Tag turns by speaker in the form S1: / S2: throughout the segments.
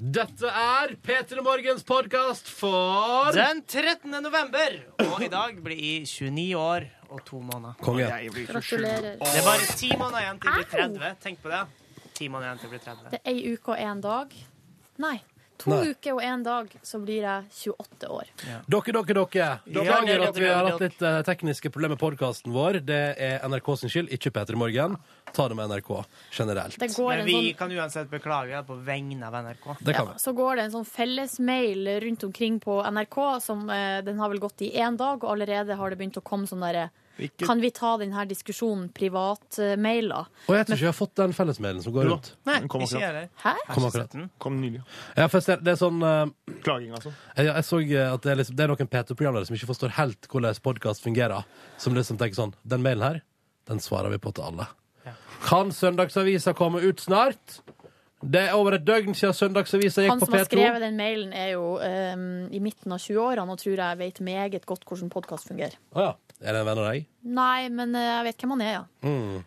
S1: Dette er P3 Morgens podkast for
S2: Den 13. november. Og i dag blir jeg 29 år og to måneder.
S1: Konge.
S3: Jeg blir
S4: Gratulerer.
S2: Det er bare ti måneder igjen til jeg blir
S4: Au!
S2: 30. Tenk på det. Ti måneder igjen til jeg blir 30.
S4: Det er ei uke og én dag. Nei. To
S1: Nei.
S4: uker og én dag, så blir jeg 28 år.
S1: Dere, dere, dere.
S2: dere,
S1: Beklager
S2: dere,
S1: at vi har
S2: dere.
S1: hatt litt eh, tekniske problemer med podkasten vår. Det er NRK sin skyld, ikke P3 Morgen. Ta det med NRK generelt.
S4: Det går
S2: Men
S4: en
S2: vi
S4: sånn,
S2: kan uansett beklage det på vegne av NRK.
S1: Det
S4: ja,
S1: kan vi.
S4: så går det en sånn fellesmail rundt omkring på NRK, som eh, den har vel gått i én dag, og allerede har det begynt å komme sånn derre
S3: Hvilket-
S4: Kan vi ta denne diskusjonen privatmailer?
S1: Og jeg tror ikke jeg har fått den fellesmailen som går rundt.
S2: Nei,
S3: Den kom
S2: ikke
S3: akkurat.
S2: jeg heller.
S4: Hæ?
S1: Kom akkurat.
S2: Setten.
S3: Kom nylig.
S1: Ja, for jeg ser- det er sånn eh,
S3: Klaging, altså.
S1: Jeg, jeg så eh, at det er, liksom, det er noen P2-programledere som ikke forstår helt hvordan podkast fungerer. Som liksom tenker sånn Den mailen her, den svarer vi på til alle. Kan Søndagsavisa komme ut snart? Det er over et døgn siden Søndagsavisa gikk
S4: Han
S1: på
S4: som har
S1: P2.
S4: skrevet den mailen, er jo eh, i midten av 20-årene og tror jeg vet meget godt hvordan podkast fungerer.
S1: Å ja. Er det en venn av deg?
S4: Nei, men eh, jeg vet hvem han er, ja.
S1: Mm.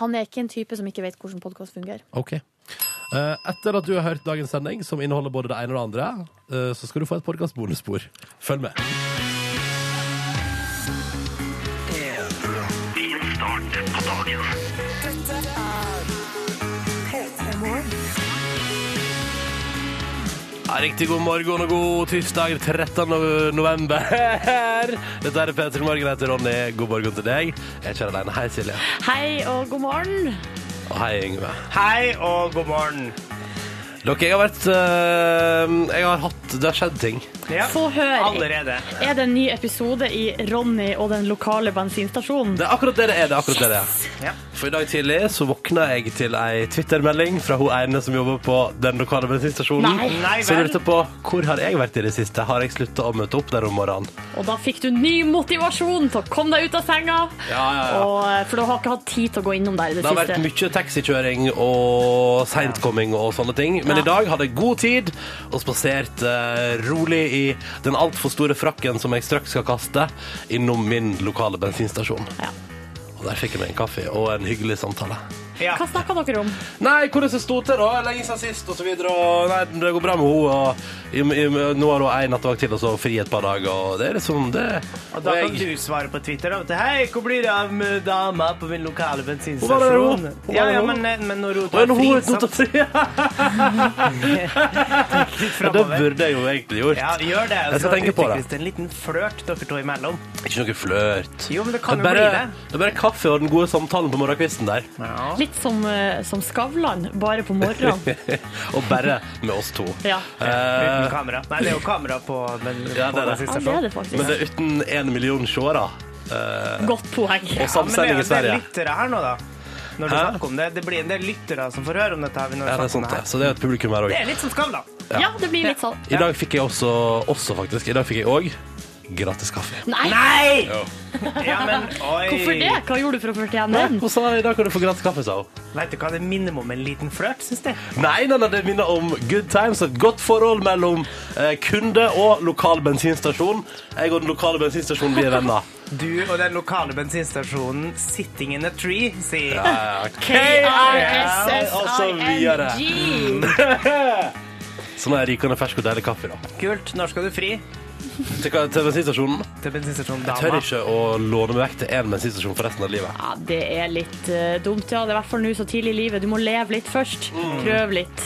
S4: Han er ikke en type som ikke vet hvordan podkast fungerer.
S1: OK. Eh, etter at du har hørt dagens sending, som inneholder både det ene og det andre, eh, så skal du få et podkastbonusspor. Følg med. Ja, riktig god morgen og god tirsdag 13. nov- november. Dette er P3 Morgen. Jeg heter Ronny. God morgen til deg. Jeg er ikke alene. Hei, Silje.
S4: Hei og god morgen.
S1: Og hei, Yngve.
S2: Hei og god morgen.
S1: Dere, jeg har vært eh, Jeg har hatt Det har skjedd ting.
S2: Ja.
S4: Få høre.
S2: Allerede.
S4: Er det en ny episode i Ronny og den lokale bensinstasjonen?
S1: Det er akkurat det det er. det er akkurat det det er.
S2: Ja.
S1: For i dag tidlig så våkna jeg til ei Twitter-melding fra hun ene som jobber på den lokale bensinstasjonen.
S4: Nei.
S2: Nei
S1: Så jeg
S2: vel.
S1: lurte på hvor har jeg vært i det siste. Har jeg slutta å møte opp der om morgenen?
S4: Og da fikk du ny motivasjon til å komme deg ut av senga. Og, eh, for du har ikke hatt tid til å gå innom der i det,
S1: Det har vært
S4: siste.
S1: mye taxikjøring og seintkomming og sånne ting. Men
S4: Ja.
S1: i dag hadde jeg god tid og spaserte eh, rolig i den altfor store frakken som jeg straks skal kaste, innom min lokale bensinstasjon.
S4: Ja.
S1: Og der fikk jeg meg en kaffe og en hyggelig samtale.
S2: Ja.
S4: Hva snakka dere om?
S1: Nei, hvordan det sto til, da? Lenge siden sist, og så videre. Og nei, det går bra med henne. Og i, i, nå har hun en nattevakt til, og så fri et par dager. Og det er liksom det.
S2: Og da kan
S1: jeg-
S2: du svare på Twitter. da, vet du. Hei, hvor blir det av med dama på min
S1: Hvor var
S2: lokale
S1: det hun? Hvor
S2: bensinstasjon?
S1: var
S2: Ja,
S1: det
S2: ja,
S1: hun?
S2: men, eh, men når hun
S1: Å, ja,
S2: tar
S1: nå
S2: fri,
S1: hun
S2: så
S1: tatt og fri. Ja, Det
S2: framover.
S1: burde jeg jo egentlig gjort.
S2: Ja, gjør det.
S1: Jeg skal tenke på det.
S2: utvikles en liten flørt dere to imellom.
S1: Ikke noe flørt.
S2: Jo, men det kan
S1: er
S2: jo
S1: bare,
S2: bli det.
S1: det er bare kaffe og den gode samtalen på morgenkvisten der.
S4: Litt som, eh, som Skavlan, bare på morgenen.
S1: og bare med oss to.
S4: Ja.
S1: Eh,
S2: Uten kamera. Nei, det er jo kamera på den sånn.
S1: Ja,
S2: på
S1: det er det.
S4: Ja,
S2: bensinstasjonen.
S4: det er det
S1: men det
S4: faktisk.
S1: er uten én million seere. Eh,
S4: Godt poeng.
S1: og
S2: Ja, men det er
S1: samsending i
S2: jo en del
S1: Sverige.
S2: lyttere her nå, da. Når du
S1: Hæ?
S2: snakker om det. Det blir en del lyttere som får høre om dette. her.
S1: Ja, det er sant, det. Så det er et publikum her òg.
S2: Det er litt som Skavlan.
S4: Ja, det blir litt sånn.
S1: I dag fikk jeg også, også faktisk, i dag fikk jeg òg gratis kaffe.
S4: Nei!
S2: Nei!
S1: Jo.
S2: Ja, men oi.
S4: Hvorfor det? Hva gjorde du for å fortjene den?
S1: Hun sa i dag kan du få gratis kaffe, sa hun.
S2: Vet du hva det minner meg om en liten flørt, syns jeg.
S1: Nei, nei, nei, det minner om good times. Et godt forhold mellom eh, kunde og lokal bensinstasjon. Jeg og den lokale bensinstasjonen blir venner.
S2: Du og den lokale bensinstasjonen Sitting in a Tree sier
S1: og så videre. Så nå er jeg Sånn rikende fersk og deilig kaffe, da.
S2: Kult, når skal du fri?
S1: Til, hva- til bensinstasjonen.
S2: Til bensinstasjonen
S1: Jeg tør
S2: Dama.
S1: ikke å låne meg vekk til én bensinstasjon for resten av livet.
S4: Ja, det er litt eh, dumt, ja. Det er i hvert fall nå så tidlig i livet. Du må leve litt først.
S1: Mm.
S4: Prøv litt.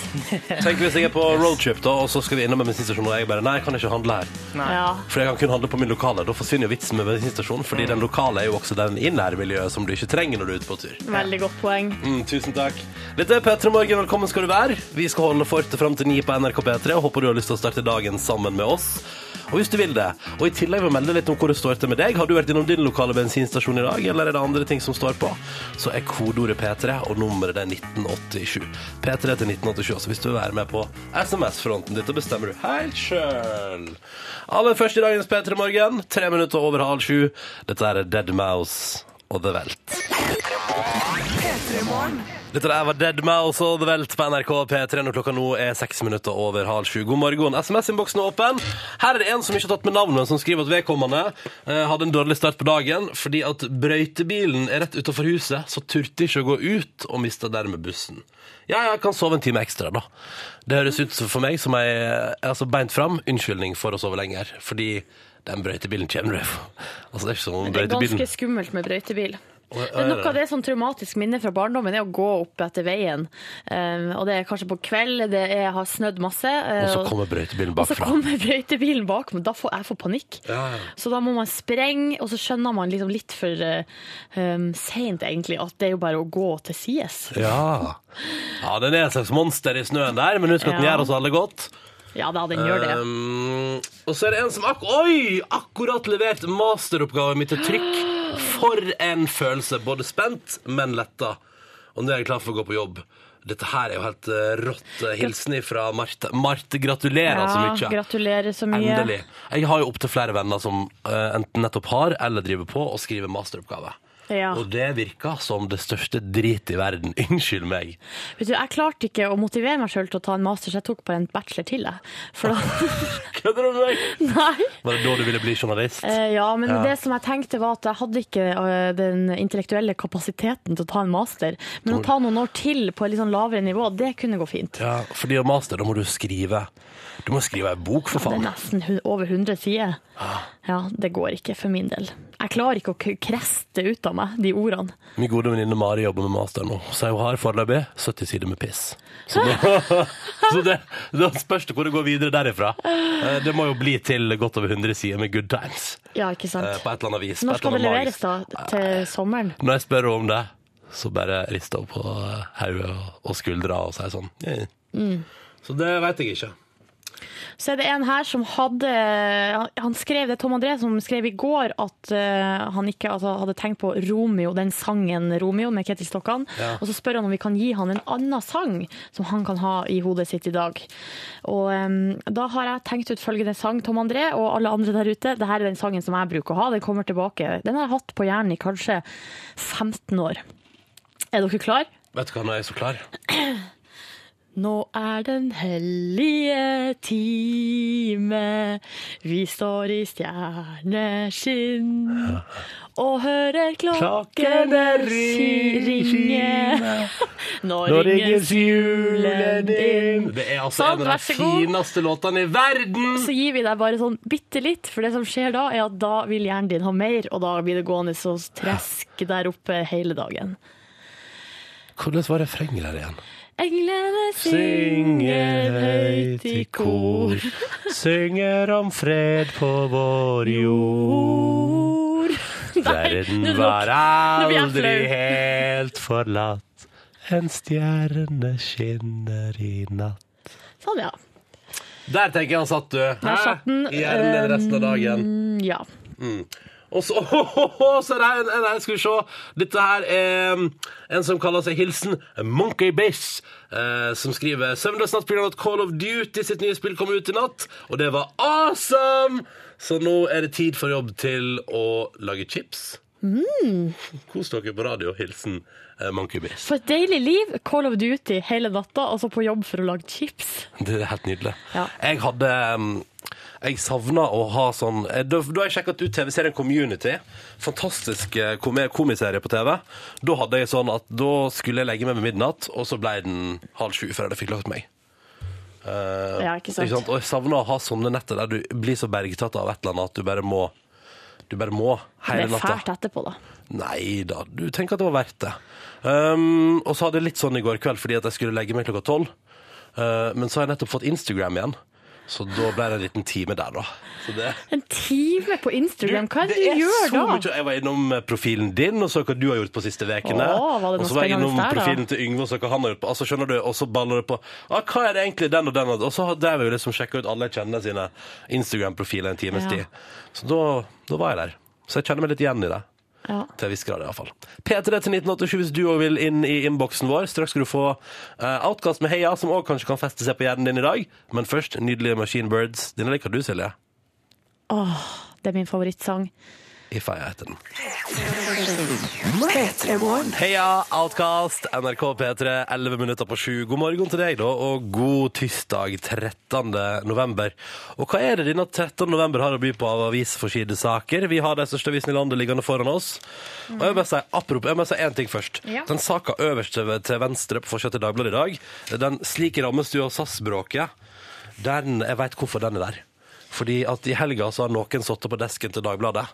S1: Tenk hvis jeg er på roadtrip, da, og så skal vi innom en bensinstasjon, og jeg bare Nei, jeg kan ikke handle her.
S4: Ja.
S1: For jeg kan kun handle på min lokale. Da forsvinner jo vitsen med bensinstasjonen, fordi den lokale er jo også den i nærmiljøet som du ikke trenger når du er ute på tur.
S4: Veldig godt poeng.
S1: Mm, tusen takk. Dette er P3 Morgen, velkommen skal du være. Vi skal holde fortet fram til ni på NRK P3, og håper du har lyst til å starte dagen sammen med oss. Og hvis du vil det, og i tillegg vil melde litt om hvor det står til med deg, har du vært innom din lokale bensinstasjon i dag, eller er det andre ting som står på, så er kodeordet P3, og nummeret det er 1987. P3 til 1987, så hvis du vil være med på SMS-fronten ditt, og bestemmer du helt sjøl. Aller først i dagens P3 Morgen, tre minutter over halv sju. Dette er Dead Mouse og The Velt.
S5: morgen.
S1: Dette der var Dead Mouse og The Welt på NRK P3 når klokka nå er seks minutter over halv sju. God morgen. SMS-innboksen er åpen. Her er det en som ikke har tatt med navnet, som skriver at vedkommende eh, hadde en dårlig start på dagen fordi at brøytebilen er rett utafor huset, så turte ikke å gå ut og mista dermed bussen. Ja, jeg kan sove en time ekstra, da. Det høres ut som- for meg som ei altså, beint fram unnskyldning for å sove lenger, fordi den brøytebilen kommer du Altså, det er ikke som om
S5: Det er ganske
S1: brøytebilen
S5: skummelt med brøytebil.
S1: Å,
S5: Men
S1: er
S5: noe av det som traumatisk minne fra barndommen er å gå opp etter veien. Um, og det er kanskje på kveld, det er, har snødd masse. eh,
S1: Og så kommer brøytebilen
S5: og så
S1: bakfra.
S5: kommer brøytebilen bak, men da får jeg får panikk.
S1: Ja, ja.
S5: Så da må man sprenge, og så skjønner man liksom litt for uh, um, seint egentlig at det er jo bare å gå til sides.
S1: Ja. ja, den er et slags monster i snøen der, men husk at den
S5: Ja.
S1: gjør oss alle godt.
S5: Ja da,
S1: Eh,
S5: den gjør det.
S1: Um, og så er det en som ak Oi! akkurat levert masteroppgaven min til trykk. For en følelse! Både spent, men letta. Og nå er jeg klar for å gå på jobb. Dette her er jo helt eh, rått. Hilsen fra Marte. Marte, gratulerer så mye.
S5: gratulerer så mye.
S1: Endelig. Jeg har jo opptil flere venner som eh, enten nettopp har eller driver på og skriver masteroppgave.
S5: Ja.
S1: Og det virker som det største drit i verden. Unnskyld meg.
S5: Vet du, jeg klarte ikke å motivere meg sjøl til å ta en master, så jeg tok bare en bachelor til. Jeg. For da,
S1: Kødder du med meg?
S5: nei.
S1: Var det da du ville bli journalist?
S5: Eh, Ja, men det som jeg tenkte var at jeg hadde ikke eh, den intellektuelle kapasiteten til å ta en master. Men å ta noen år til på et litt sånn lavere nivå, det kunne gå fint.
S1: Ja, fordi å master, da må du skrive Du må skrive ei bok, for
S5: Det er
S1: faen.
S5: nesten hu- over 100 sider.
S1: Ah.
S5: Ja, det går ikke for min del. Jeg klarer ikke å k- kreste ut av meg de ordene.
S1: Min gode venninne Mari jobber med master nå, så hun har foreløpig 70 sider med piss. Så, da, så det, da spørs det hvor det går videre derifra. Eh, Det må jo bli til godt over 100 sider med good times.
S5: Ja, ikke
S1: eh,
S5: sant.
S1: På et eller annet vis. på
S5: Når
S1: et
S5: skal det
S1: eller annet
S5: leveres, da? Til sommeren?
S1: magisk. Når jeg spør henne om det, så bare rister hun på eh, hodet og- og skuldra og sier sånn. «Eh».
S5: Mm.
S1: Så det veit jeg ikke.
S5: Så er det en her som hadde Han skrev, det er Tom André som skrev i går at eh, han ikke altså, hadde tenkt på Romeo, den sangen Romeo med Ketil Stokkan. Og så spør han om vi kan gi han en annen sang som han kan ha i hodet sitt i dag. Og em, da har jeg tenkt ut følgende sang, Tom André og alle andre der ute. Dette er den sangen som jeg bruker å ha. Den kommer tilbake. Den har jeg hatt på hjernen i kanskje 15 år. Er dere klar?
S1: Vet du hva, nå er jeg så klar.
S5: Nå er den hellige time. Vi står i stjerneskinn og hører klokkene ri- ringe. Nå ringes julen inn.
S1: Det er altså
S5: Sant,
S1: en
S5: vær
S1: av
S5: så
S1: de
S5: god.
S1: fineste låtene i verden!
S5: Så gir vi deg bare sånn bitte litt, for det som skjer da, er at da vil hjernen din ha mer, og da blir det gående så tresk der oppe hele dagen.
S1: Hvordan var refrenget der igjen?
S5: Englene synger høyt i kor.
S1: synger om fred på vår jord. Verden
S5: nå er det nok.
S1: var
S5: Nå blir jeg
S1: aldri
S5: flau.
S1: helt forlatt. En stjerne skinner i natt.
S5: Sånn, ja.
S1: Der tenker jeg han satt, du. Hæ?
S5: satt den.
S1: I hjernen resten av dagen.
S5: Mm, ja.
S1: Og så, så er det her, nei, skal vi se. Dette her er en som kaller seg Hilsen Monkey Biss, eh, som skriver søndagsnattprogrammet Call of Duty sitt nye spill kom ut i natt, og det var awesome! Så nå er det tid for jobb til å lage chips. Kos dere på radio. Hilsen eh, Monkey Biss.
S5: For et deilig liv. Call of Duty hele natta, altså på jobb for å lage chips.
S1: Det er helt nydelig.
S5: Ja.
S1: Jeg hadde um, Jeg savna å ha sånn eh, Da, da har jeg sjekka ut TV-serien Community. Fantastisk eh, kom komiserie på TV. Da hadde jeg sånn at da skulle jeg legge meg ved midnatt, og så ble den halv sju før jeg fikk lagt meg. Eh,
S5: Ja, ikke sant.
S1: Og jeg savna å ha sånne netter der du blir så bergtatt av et eller annet at du bare må Du bare må
S5: Det
S1: hele
S5: er
S1: natta.
S5: fælt etterpå, da.
S1: Nei da, du tenker at det var verdt det. Um, og så hadde jeg litt sånn i går kveld fordi at jeg skulle legge meg klokka tolv. Uh, men så har jeg nettopp fått Instagram igjen, så da ble det en liten time der, da. Så det,
S5: En time på Instagram, hva er det
S1: er
S5: du gjør
S1: så
S5: da?
S1: mye. Jeg var innom eh, profilen din og så hva du har gjort på siste ukene.
S5: Åh, var det noe
S1: og så var jeg
S5: spennende
S1: innom
S5: der, da?
S1: profilen til Yngve og så hva han har gjort på. Altså, skjønner du, Og så baller det på. Ah, hva er det egentlig den og den og Og så der vil jeg liksom sjekke ut alle jeg kjenner sine Instagram-profiler en times
S5: Ja.
S1: tid. Så da, da var jeg der. Så jeg kjenner meg litt igjen i det.
S5: Ja.
S1: Til en viss grad, iallfall. P3 til 1987 hvis du òg vil inn i innboksen vår. Straks skal du få eh, Outcast med Heia, som òg kanskje kan feste seg på hjernen din i dag. Men først nydelige Machine Birds. Denne liker du, Silje.
S5: Åh, det er min favorittsang.
S1: If I heter den. Heia, Outcast, NRK P3, 11 minutter på 7. God morgen til deg, da, og god tirsdag 13. november. Og hva er det denne 13. november har å by på av avisforsidesaker? Vi har de største avisene i landet liggende foran oss. Og jeg må si, apropos, jeg må si én ting først.
S5: Ja.
S1: Den saka øverst til til venstre på forsida til Dagbladet i dag, den 'Slik rammes du av SAS-bråket', den, jeg veit hvorfor den er der. Fordi at i helga så har noen sittet på desken til Dagbladet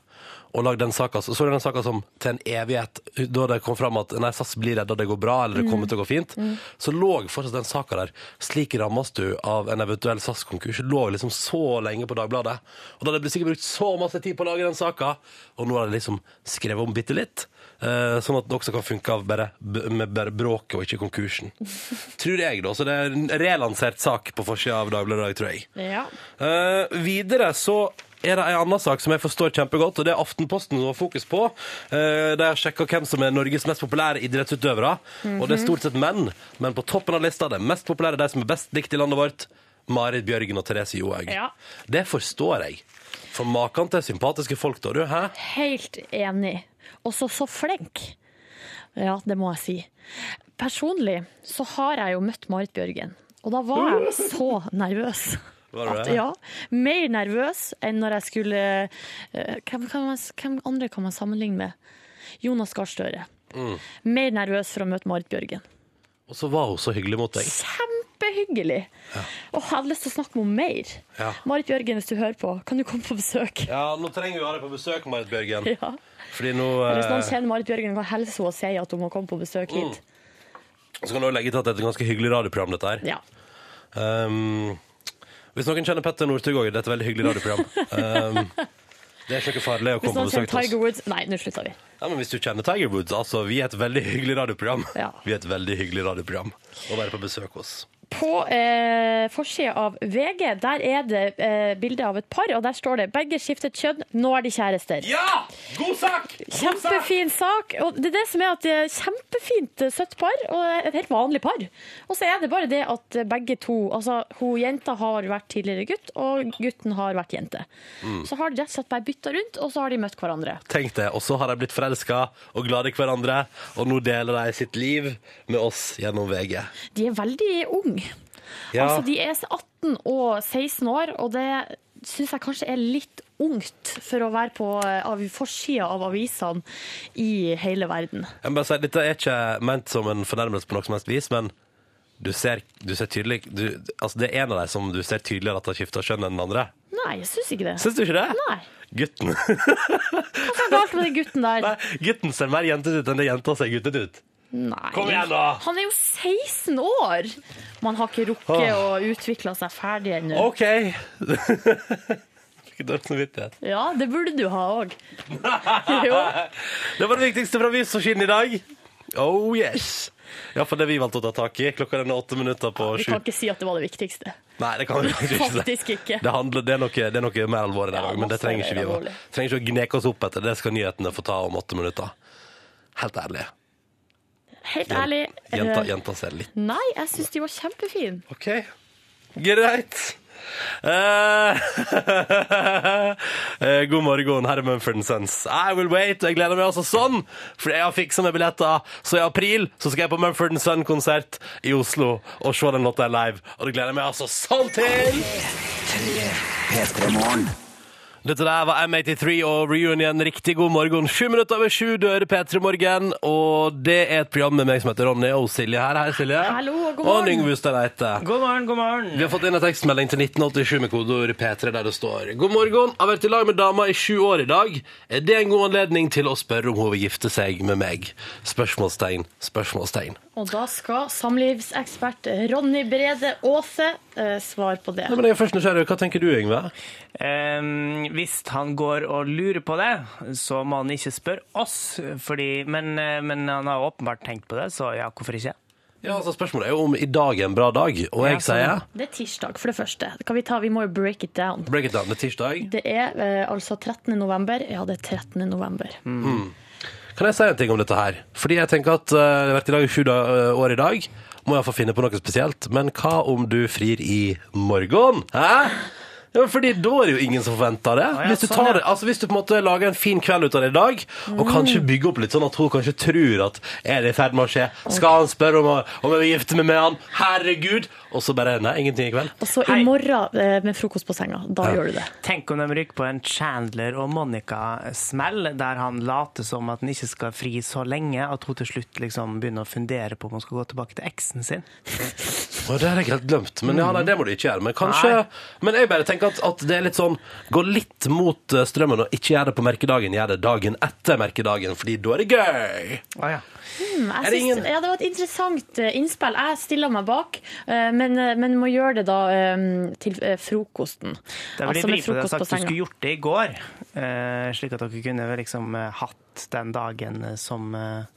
S1: og lagd den saka. Så er det den saka som til en evighet, da det kom fram at nei, SAS blir redda, det går bra, eller det kommer til å gå fint, så lå fortsatt den saka der. Slik rammes du av en eventuell SAS-konkurs. Lå liksom så lenge på Dagbladet. Og da hadde det sikkert brukt så masse tid på å lage den saka, og nå har de liksom skrevet om bitte litt. eh, Sånn at det også kan funke av bare, b- med bare bråket og ikke konkursen. Tror jeg, da. Så det er en relansert sak på forsida av Dagbladet i dag, tror jeg.
S5: Ja.
S1: Eh, videre så er det en annen sak som jeg forstår kjempegodt, og det er Aftenposten som har fokus på. Eh, de har sjekka hvem som er Norges mest populære idrettsutøvere. Og det er stort sett menn, men på toppen av lista, de mest populære, de som er best likt i landet vårt, Marit Bjørgen og Therese Johaug.
S5: Ja.
S1: Det forstår jeg. For maken til sympatiske folk, da, du. Hæ?
S5: Helt enig. Også så flink. Ja, det må jeg si. Personlig så har jeg jo møtt Marit Bjørgen, og da var jeg så nervøs.
S1: Var du
S5: At,
S1: det?
S5: ja, mer nervøs enn når jeg skulle eh, hvem, kan man, hvem andre kan man sammenligne med? Jonas Gahr Støre.
S1: Mm.
S5: Mer nervøs for å møte Marit Bjørgen.
S1: Og så var hun så hyggelig mot deg.
S5: Kjempehyggelig! Og jeg hadde lyst til å snakke med henne mer.
S1: Ja.
S5: Marit Bjørgen, hvis du hører på, kan du komme på besøk?
S1: Ja, nå trenger vi å ha deg på besøk, Marit Bjørgen.
S5: Ja.
S1: Fordi nå eh,
S5: Hvis noen kjenner Marit Bjørgen, kan helse henne og si at hun må komme på besøk hit.
S1: Mm. Så kan du også legge til at det er et ganske hyggelig radioprogram, dette her.
S5: Ja.
S1: Um, hvis noen kjenner Petter Northug òg, dette er et veldig hyggelig radioprogram. Um, det er ikke noe farlig å
S5: Hvis
S1: komme på
S5: noen
S1: besøk
S5: kjenner
S1: til
S5: Tiger
S1: oss.
S5: Woods Nei, nå slutta vi.
S1: Ja, men hvis du kjenner Tiger Woods, altså, vi er et veldig hyggelig radioprogram.
S5: Ja.
S1: Vi er et veldig hyggelig radioprogram å være på besøk hos.
S5: På eh, forsida av VG der er det eh, bilde av et par, og der står det 'Begge skiftet kjønn, nå er de kjærester'.
S1: Ja! God sak!
S5: Kjempefin sak. Og det er det som er at det er kjempefint eh, søtt par, og et helt vanlig par. Og så er det bare det at eh, begge to Altså, hun jenta har vært tidligere gutt, og gutten har vært jente.
S1: Mm.
S5: Så har de rett og slett bare bytta rundt, og så har de møtt hverandre.
S1: Tenk det. Og så har de blitt forelska og glad i hverandre, og nå deler de sitt liv med oss gjennom VG.
S5: De er veldig unge.
S1: Ja,
S5: Altså, de er 18 og 16 år, og det syns jeg kanskje er litt ungt for å være på eh, av forsida av avisene i hele verden.
S1: jeg må bare si, Dette er ikke ment som en fornærmelse på noe som helst vis, men du ser, du ser tydelig du, altså Det er en av dem som du ser tydeligere at har skifta kjønn enn den andre.
S5: Nei, jeg syns ikke det.
S1: Syns du ikke det?
S5: Nei.
S1: Gutten.
S5: Hva er galt med den gutten der?
S1: Nei, gutten ser mer jentet ut enn det jenta ser guttet ut.
S5: Nei.
S1: Kom igjen, da!
S5: Han er jo 16 år! Man har ikke rukket å utvikle seg ferdig ennå.
S1: OK. Fikk dårlig samvittighet.
S5: Ja, det burde du ha òg. Jo.
S1: Det var det viktigste fra avisforsiden i dag. Oh yes. Ja, for det vi valgte å ta tak i. Klokka den er åtte minutter på
S5: Vi
S1: sju.
S5: kan ikke si at det var det viktigste.
S1: Nei, det kan vi faktisk ikke.
S5: Faktisk ikke.
S1: Det, handler, det, er noe, det er noe mer alvorlig der
S5: Ja,
S1: òg, men det
S5: masse
S1: trenger ikke vi å,
S5: alvorlig.
S1: trenger ikke å gneke oss opp etter. Det skal nyhetene få ta om åtte minutter. Helt ærlig.
S5: Helt ærlig.
S1: Jenta,
S5: eh,
S1: jenta ser litt
S5: Nei, jeg syns de var kjempefine.
S1: OK. Greit. Eh, eh, god morgen, herr Mumford Sons. I will wait. Jeg gleder meg altså sånn, for jeg har fiksa meg billetter. Så i april så skal jeg på Mumford Son-konsert i Oslo og se den låta live. Og det gleder jeg meg altså sånn til! Dette der var M83 og Reunion. Riktig god morgen. Sju minutter over sju dør P3 Morgen. Og det er et program med meg som heter Ronny og Silje her. Hei, Silje.
S5: Hallo, og god
S1: og
S5: morgen.
S1: Yngve Ustad Eite.
S2: God morgen, god morgen.
S1: Vi har fått inn en tekstmelding til 1987 med kodeord P3 der det står God morgen, har vært i lag med dama i sju år i dag. Er det en god anledning til å spørre om hun vil gifte seg med meg? Spørsmålstegn, spørsmålstegn.
S5: Og da skal samlivsekspert Ronny Brede Aase eh, svare på det.
S1: Nei, men jeg er først nysgjerrig. Hva tenker du, Yngve?
S2: Ehm, hvis han går og lurer på det, så må han ikke spørre oss. Fordi, men, eh, men han har åpenbart tenkt på det, så ja, hvorfor ikke?
S1: Ja, altså Spørsmålet er jo om i dag er en bra dag, og
S2: Ja,
S1: jeg sier
S2: sånn.
S5: Det er tirsdag, for det første. Kan vi, ta, vi må jo break it down.
S1: Break it down, det er tirsdag.
S5: Det er eh, altså 13. november. Ja, det er 13. november.
S1: Mm. Kan jeg si en ting om dette her? Fordi jeg tenker at eh, det har vært i lag i sju da- eh, år i dag. Må iallfall finne på noe spesielt. Men hva om du frir i morgen? Hæ? Ja, fordi da er det jo ingen som forventer det.
S2: ja,
S1: Hvis du,
S2: sånn,
S1: tar,
S2: ja. Mm.
S1: det- altså, hvis du på en måte lager en fin kveld ut av det i dag, og kanskje bygger opp litt sånn at hun kanskje tror at er det i ferd med å skje? Skal han spørre om, å- om jeg vil gifte meg med han? Herregud! Og så bare nei, ingenting i kveld.
S5: Og så
S2: Hei.
S5: i morgen eh, med frokost på senga. Da gjør du det.
S2: Tenk om de rykker på en Chandler og Monica-smell, der han later som at han ikke skal fri så lenge at hun til slutt liksom begynner å fundere på om hun skal gå tilbake til eksen sin.
S1: Og det har jeg helt glemt. Men ja, nei, det må du ikke gjøre. Men kanskje
S2: Nei.
S1: Men jeg bare tenker at, at det er litt sånn Gå litt mot eh, strømmen og ikke gjør det på merkedagen. Gjør det dagen etter merkedagen, Fordi da er det gøy.
S5: Mm, jeg
S1: Er det
S5: syns-
S1: ingen-
S5: ja, det var et interessant eh, innspill. Jeg stiller meg bak, eh, men, eh, men må gjøre det da eh, til eh, frokosten. Altså,
S2: Det er veldig vri på det sagt du skulle gjort det i går, eh, slik at dere kunne vel liksom eh, hatt den dagen eh, som eh,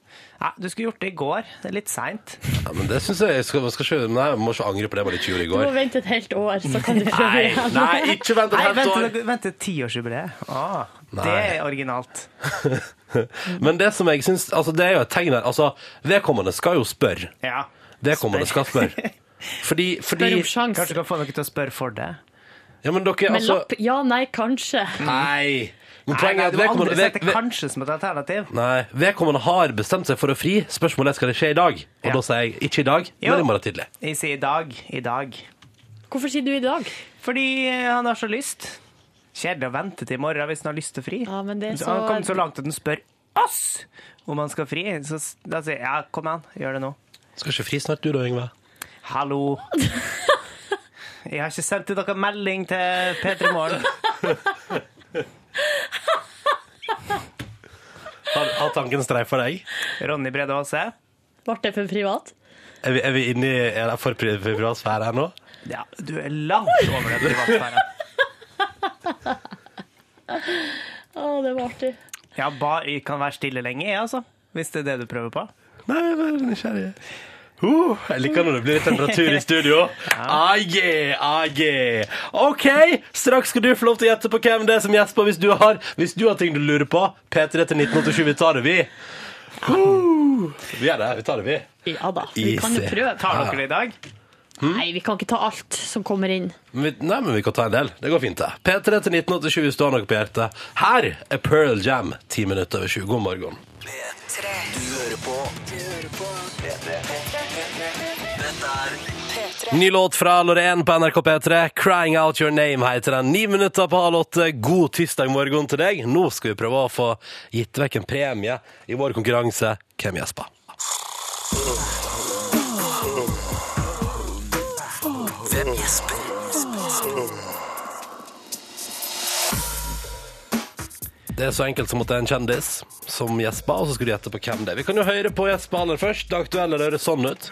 S2: Ja, du skulle gjort det i går. Det er litt seint.
S1: Ja, men det synes jeg, jeg skal, man skal ikke, Nei, man må ikke angre på det man ikke gjorde i
S5: Du må
S1: går.
S5: vente et helt år, så kan du prøve
S1: Nei,
S5: igjen.
S1: nei, ikke vent
S2: Nei,
S1: et
S2: vent
S1: helt
S2: til
S1: år.
S2: dere- vent til tiårsjubileet. Ah, det
S1: Nei.
S2: er originalt.
S1: Men det som jeg syns altså, Det er jo et tegn her. Altså, vedkommende skal jo spørre.
S2: Ja.
S1: Vedkommende skal spørre. Fordi,
S5: Spør
S1: fordi
S5: om sjans.
S2: Kanskje du kan få noen til å spørre for deg.
S1: Ja, men dere,
S5: Med
S1: altså
S5: lapp. Ja, nei, kanskje.
S1: Nei. Men
S2: Nei,
S1: poenget
S2: nei,
S1: er at
S2: du må aldri
S1: vedkommende,
S2: sette
S1: ved- ved-
S2: kanskje som et alternativ.
S1: Nei, vedkommende har bestemt seg for å fri. Spørsmålet er skal det skje i dag. Og
S2: Ja.
S1: da sier jeg ikke i dag,
S2: Jo.
S1: men i morgen tidlig.
S2: Jeg sier i dag. I dag.
S5: Hvorfor sier du i dag?
S2: Fordi eh, han har så lyst. Kjedelig å vente til i morgen hvis han har lyst til å fri.
S5: Ja, men det er
S2: Så Han
S5: så-
S2: har kommet så langt at han spør oss om han skal fri. Så s- da sier jeg ja, kom an, gjør det nå.
S1: Skal ikke fri snart, du da, Yngve?
S2: Hallo. Jeg har ikke sendt ut noen melding til P3 Morgen.
S1: Har, har tanken streifa deg?
S2: Ronny Brede Aase.
S5: Ble det for privat?
S1: Er vi, er vi inne i er det for pri- for privat sfære her nå?
S2: Ja, du er langt over det privatsfæra.
S5: Å, det var artig.
S2: Ja, bare jeg kan være stille lenge, jeg, altså. Hvis det er det du prøver på.
S1: Nei, jeg er bare nysgjerrig. Uh, jeg liker når det blir litt temperatur i studio. Ah, yeah, ah, yeah. OK, straks skal du få lov til å gjette på hvem det er som gjesper hvis du har, hvis du har ting du lurer på. P3 til 1987. Vi tar det, vi. Uh, vi gjør det. Vi tar det, vi.
S5: Ja da, vi kan jo
S1: Easy.
S5: prøve.
S2: Tar dere det i dag?
S5: Nei, vi kan ikke ta alt som kommer inn.
S1: Men vi, nei, men vi kan ta en del. Det går fint, det. P3 til 1987 hvis du har noe på hjertet. Her er Pearl Jam, ti minutter over sju. God morgen.
S6: P3. Du hører på Du hører på P3. Dette er P3.
S1: Ny låt fra Loreen på NRK P3. 'Crying Out Your Name' heter den. Ni minutter på halv åtte. God tirsdag morgen til deg. Nå skal vi prøve å få gitt vekk en premie i vår konkurranse Hvem gjesper?
S6: Hvem gjesper?
S1: Det er så enkelt som at det er en kjendis som gjesper, og så skal du gjette på hvem det er. Vi kan jo høre på gjespa aller først. Det aktuelle høres sånn ut.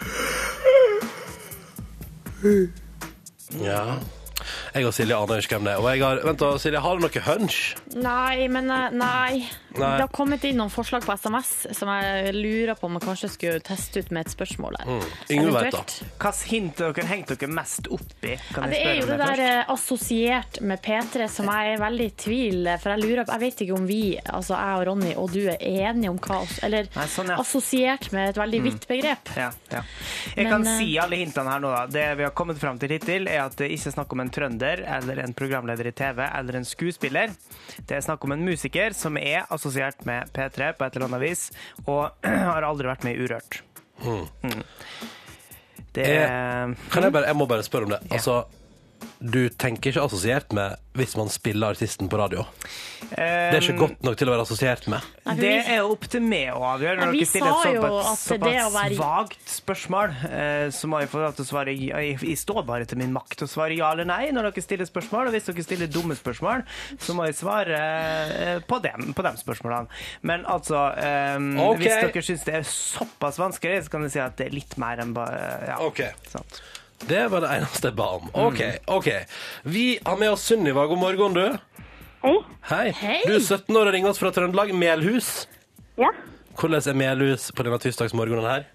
S1: Ja. Jeg og Silje aner ikke hvem det er. Og jeg har, vent da, Silje, har du noe hunch?
S5: Nei, men eh, nei.
S1: Nei.
S5: Det har kommet inn noen forslag på SMS som jeg lurer på om jeg kanskje skulle teste ut med et spørsmål der.
S1: Ingen vet
S5: Eventuelt.
S2: Hvilke hint dere hengte dere mest opp i? Kan
S5: Ja,
S2: jeg spørre
S5: det er jo
S2: om
S5: det der
S2: først?
S5: eh, assosiert med P3 som jeg er veldig i tvil eh, For jeg lurer på, jeg vet ikke om vi, altså jeg og Ronny og du er enige om hva oss- Eller
S2: Nei, sånn, ja.
S5: assosiert med et veldig vidt begrep.
S2: Ja, ja. Jeg
S5: Men,
S2: kan
S5: eh,
S2: si alle hintene her nå, da. Det vi har kommet fram til hittil, er at det ikke er snakk om en trønder eller en programleder i TV eller en skuespiller. Det er snakk om en musiker som er assosiert med P3 på et eller annet vis, og har aldri vært med i Urørt. Mm. Det er
S1: Kan jeg bare, jeg må bare spørre om det. Altså, du tenker ikke assosiert med hvis man spiller artisten på radio. Det er ikke godt nok til å være assosiert med.
S5: for
S2: Det
S5: vi-
S2: er jo opp til meg å avgjøre.
S5: Ja,
S2: Når
S5: vi
S2: dere stiller
S5: sa
S2: et
S5: jo
S2: såpass,
S5: at det
S2: såpass
S5: å være-
S2: vagt spørsmål, eh, så må jeg få lov til å svare ja. Jeg, jeg står bare til min makt å svare ja eller nei når dere stiller spørsmål. Og hvis dere stiller dumme spørsmål, så må jeg svare eh, på dem, på de spørsmålene. Men altså eh,
S1: Ok.
S2: Hvis dere syns det er såpass vanskelig, så kan jeg si at det er litt mer enn bare ja.
S1: Ok.
S2: Sant.
S1: Det var det eneste jeg ba om. OK. ok. Vi har med oss Sunniva. God morgen, du.
S7: Hei.
S1: Hei.
S5: Hei.
S1: Du er 17 år og ringer oss fra Trøndelag. Melhus.
S7: Ja.
S1: Hvordan er Melhus på denne tirsdagsmorgenen her?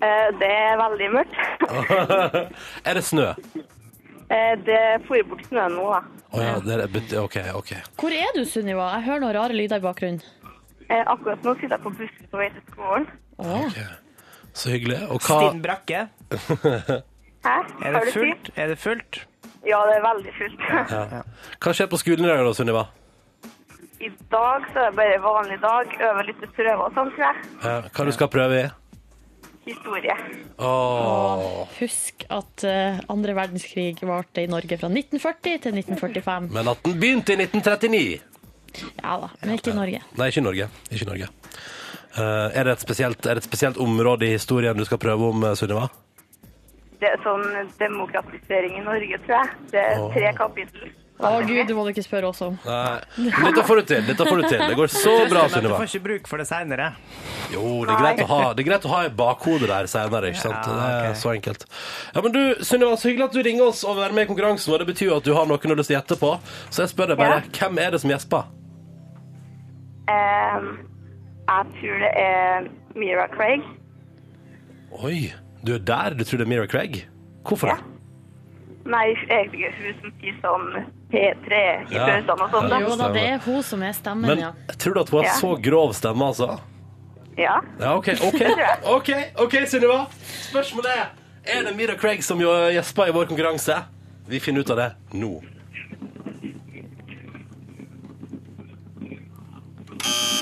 S7: Eh, Det er veldig mørkt.
S1: er det snø?
S7: Eh, Det får bort snøen nå, da.
S1: Å ja, det er bet- OK, OK.
S5: Hvor er du, Sunniva? Jeg hører noen rare lyder i bakgrunnen.
S7: Eh, Akkurat nå sitter jeg på bussen på vei til skolen.
S1: ok. Så hyggelig. Og hva
S2: Stinn Brakke,
S7: Hæ?
S2: er
S7: Har
S2: det
S7: du tid?
S2: fullt? Er det fullt?
S7: Ja, det er veldig fullt.
S1: Ja. Hva skjer på skolen i dag, da, Sunniva?
S7: I dag så er det bare vanlig dag. Øver litt til prøver og sånn, tror jeg.
S1: Ja. Eh, Hva du skal prøve i?
S7: Historie.
S1: Åh.
S5: Husk at eh, andre verdenskrig varte i Norge fra 1940 til 1945.
S1: Men at den begynte i 1939!
S5: Ja da, men ikke i Norge.
S1: Nei, ikke i Norge. Ikke i Norge. Eh, er, det et spesielt, er det et spesielt område i historien du skal prøve om, eh, Sunniva?
S7: Det er sånn demokratisering i Norge, tror jeg. Det er tre kapittel.
S5: Å gud, det må du ikke spørre oss om.
S1: Nei. Men Dette får du til! Dette får du til. Det går så bra,
S2: Men du
S1: Sunniva.
S2: får ikke bruk for det seinere.
S1: Jo, det er greit å ha, det er greit å ha i bakhodet der senere, ikke sant?
S2: Ja,
S1: Det er
S2: ok.
S1: så enkelt. Ja, men du, Sunniva, så hyggelig at du ringer oss og er med i konkurransen vår. Det betyr jo at du har noen du har lyst til å gjette på. Så jeg spør deg bare,
S7: Ja.
S1: hvem er det som gjesper?
S7: Eh, jeg tror det er Mira Craig.
S1: Oi, du er der du tror det er Mira Craig? Hvorfor det?
S7: Nei, egentlig ikke hun som sier sånn P3 i
S1: Ja.
S7: pausene og sånn. da.
S5: Jo da, det er hun som er stemmen,
S1: Men
S5: ja.
S1: tror du at hun har
S7: Ja.
S1: så grov stemme, altså?
S7: Ja.
S1: Ja, OK, OK, ok, ok, Sunniva. Spørsmålet er er det Mira Craig som jo gjesper i vår konkurranse. Vi finner ut av det nå.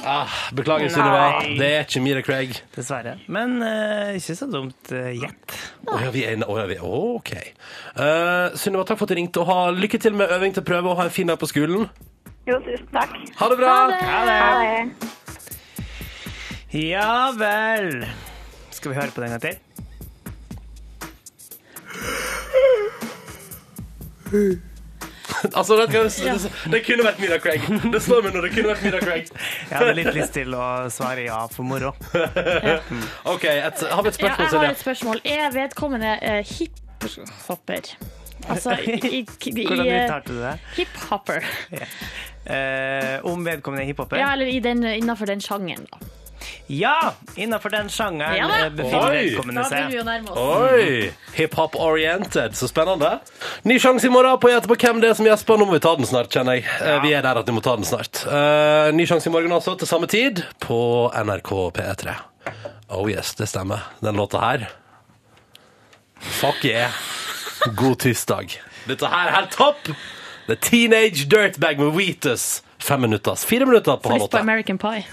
S1: Ah, beklager, Sunniva.
S2: Nei.
S1: Det er ikke Mira Craig.
S2: Dessverre. Men eh, ikke så dumt eh, gjett.
S1: Å ja, vi er inne. Å ja, vi er OK. Eh, Sunniva, takk for at du ringte. Og ha lykke til med øving til prøve og ha en fin dag på skolen.
S7: Jo, tusen takk.
S1: Ha det bra!
S7: Ha det.
S2: Ja vel. Skal vi høre på den en gang til?
S1: Altså, det, det, det kunne vært Mira Craig. Det slår meg nå. Det kunne vært Mira Craig.
S2: Jeg hadde litt lyst til å svare ja for moro.
S1: OK, et, har vi et
S5: ja.
S1: spørsmål,
S5: Jeg har
S1: Silje?
S5: et spørsmål. Er vedkommende eh, hiphopper? Altså i, i, i,
S2: Hvordan
S5: eh,
S2: uttalte du det?
S5: hiphopper.
S2: Eh, om vedkommende er hiphoper?
S5: Ja, eller i den, innenfor den sjangeren, da.
S2: Ja! Innenfor den sjangeren
S5: Ja da.
S2: eh, befinner
S1: Oi.
S2: vedkommende
S5: Da begynner vi
S2: seg.
S5: å nærme oss.
S1: Oi! Hiphop oriented. Så spennende. Ny sjanse i morgen på å gjette på hvem det er som gjesper. Nå må vi ta den snart, kjenner jeg. Eh, Vi er der at vi må ta den snart. Eh, ny sjanse i morgen altså, til samme tid, på NRK P3. Oh yes, det stemmer. Den låta her. Fuck yeah. God tirsdag. Dette her er helt topp! The Teenage Dirtbag med Wheatus. Fem minutter. Fire minutter på halv
S5: Lyst på
S1: åtte.
S5: American Pie.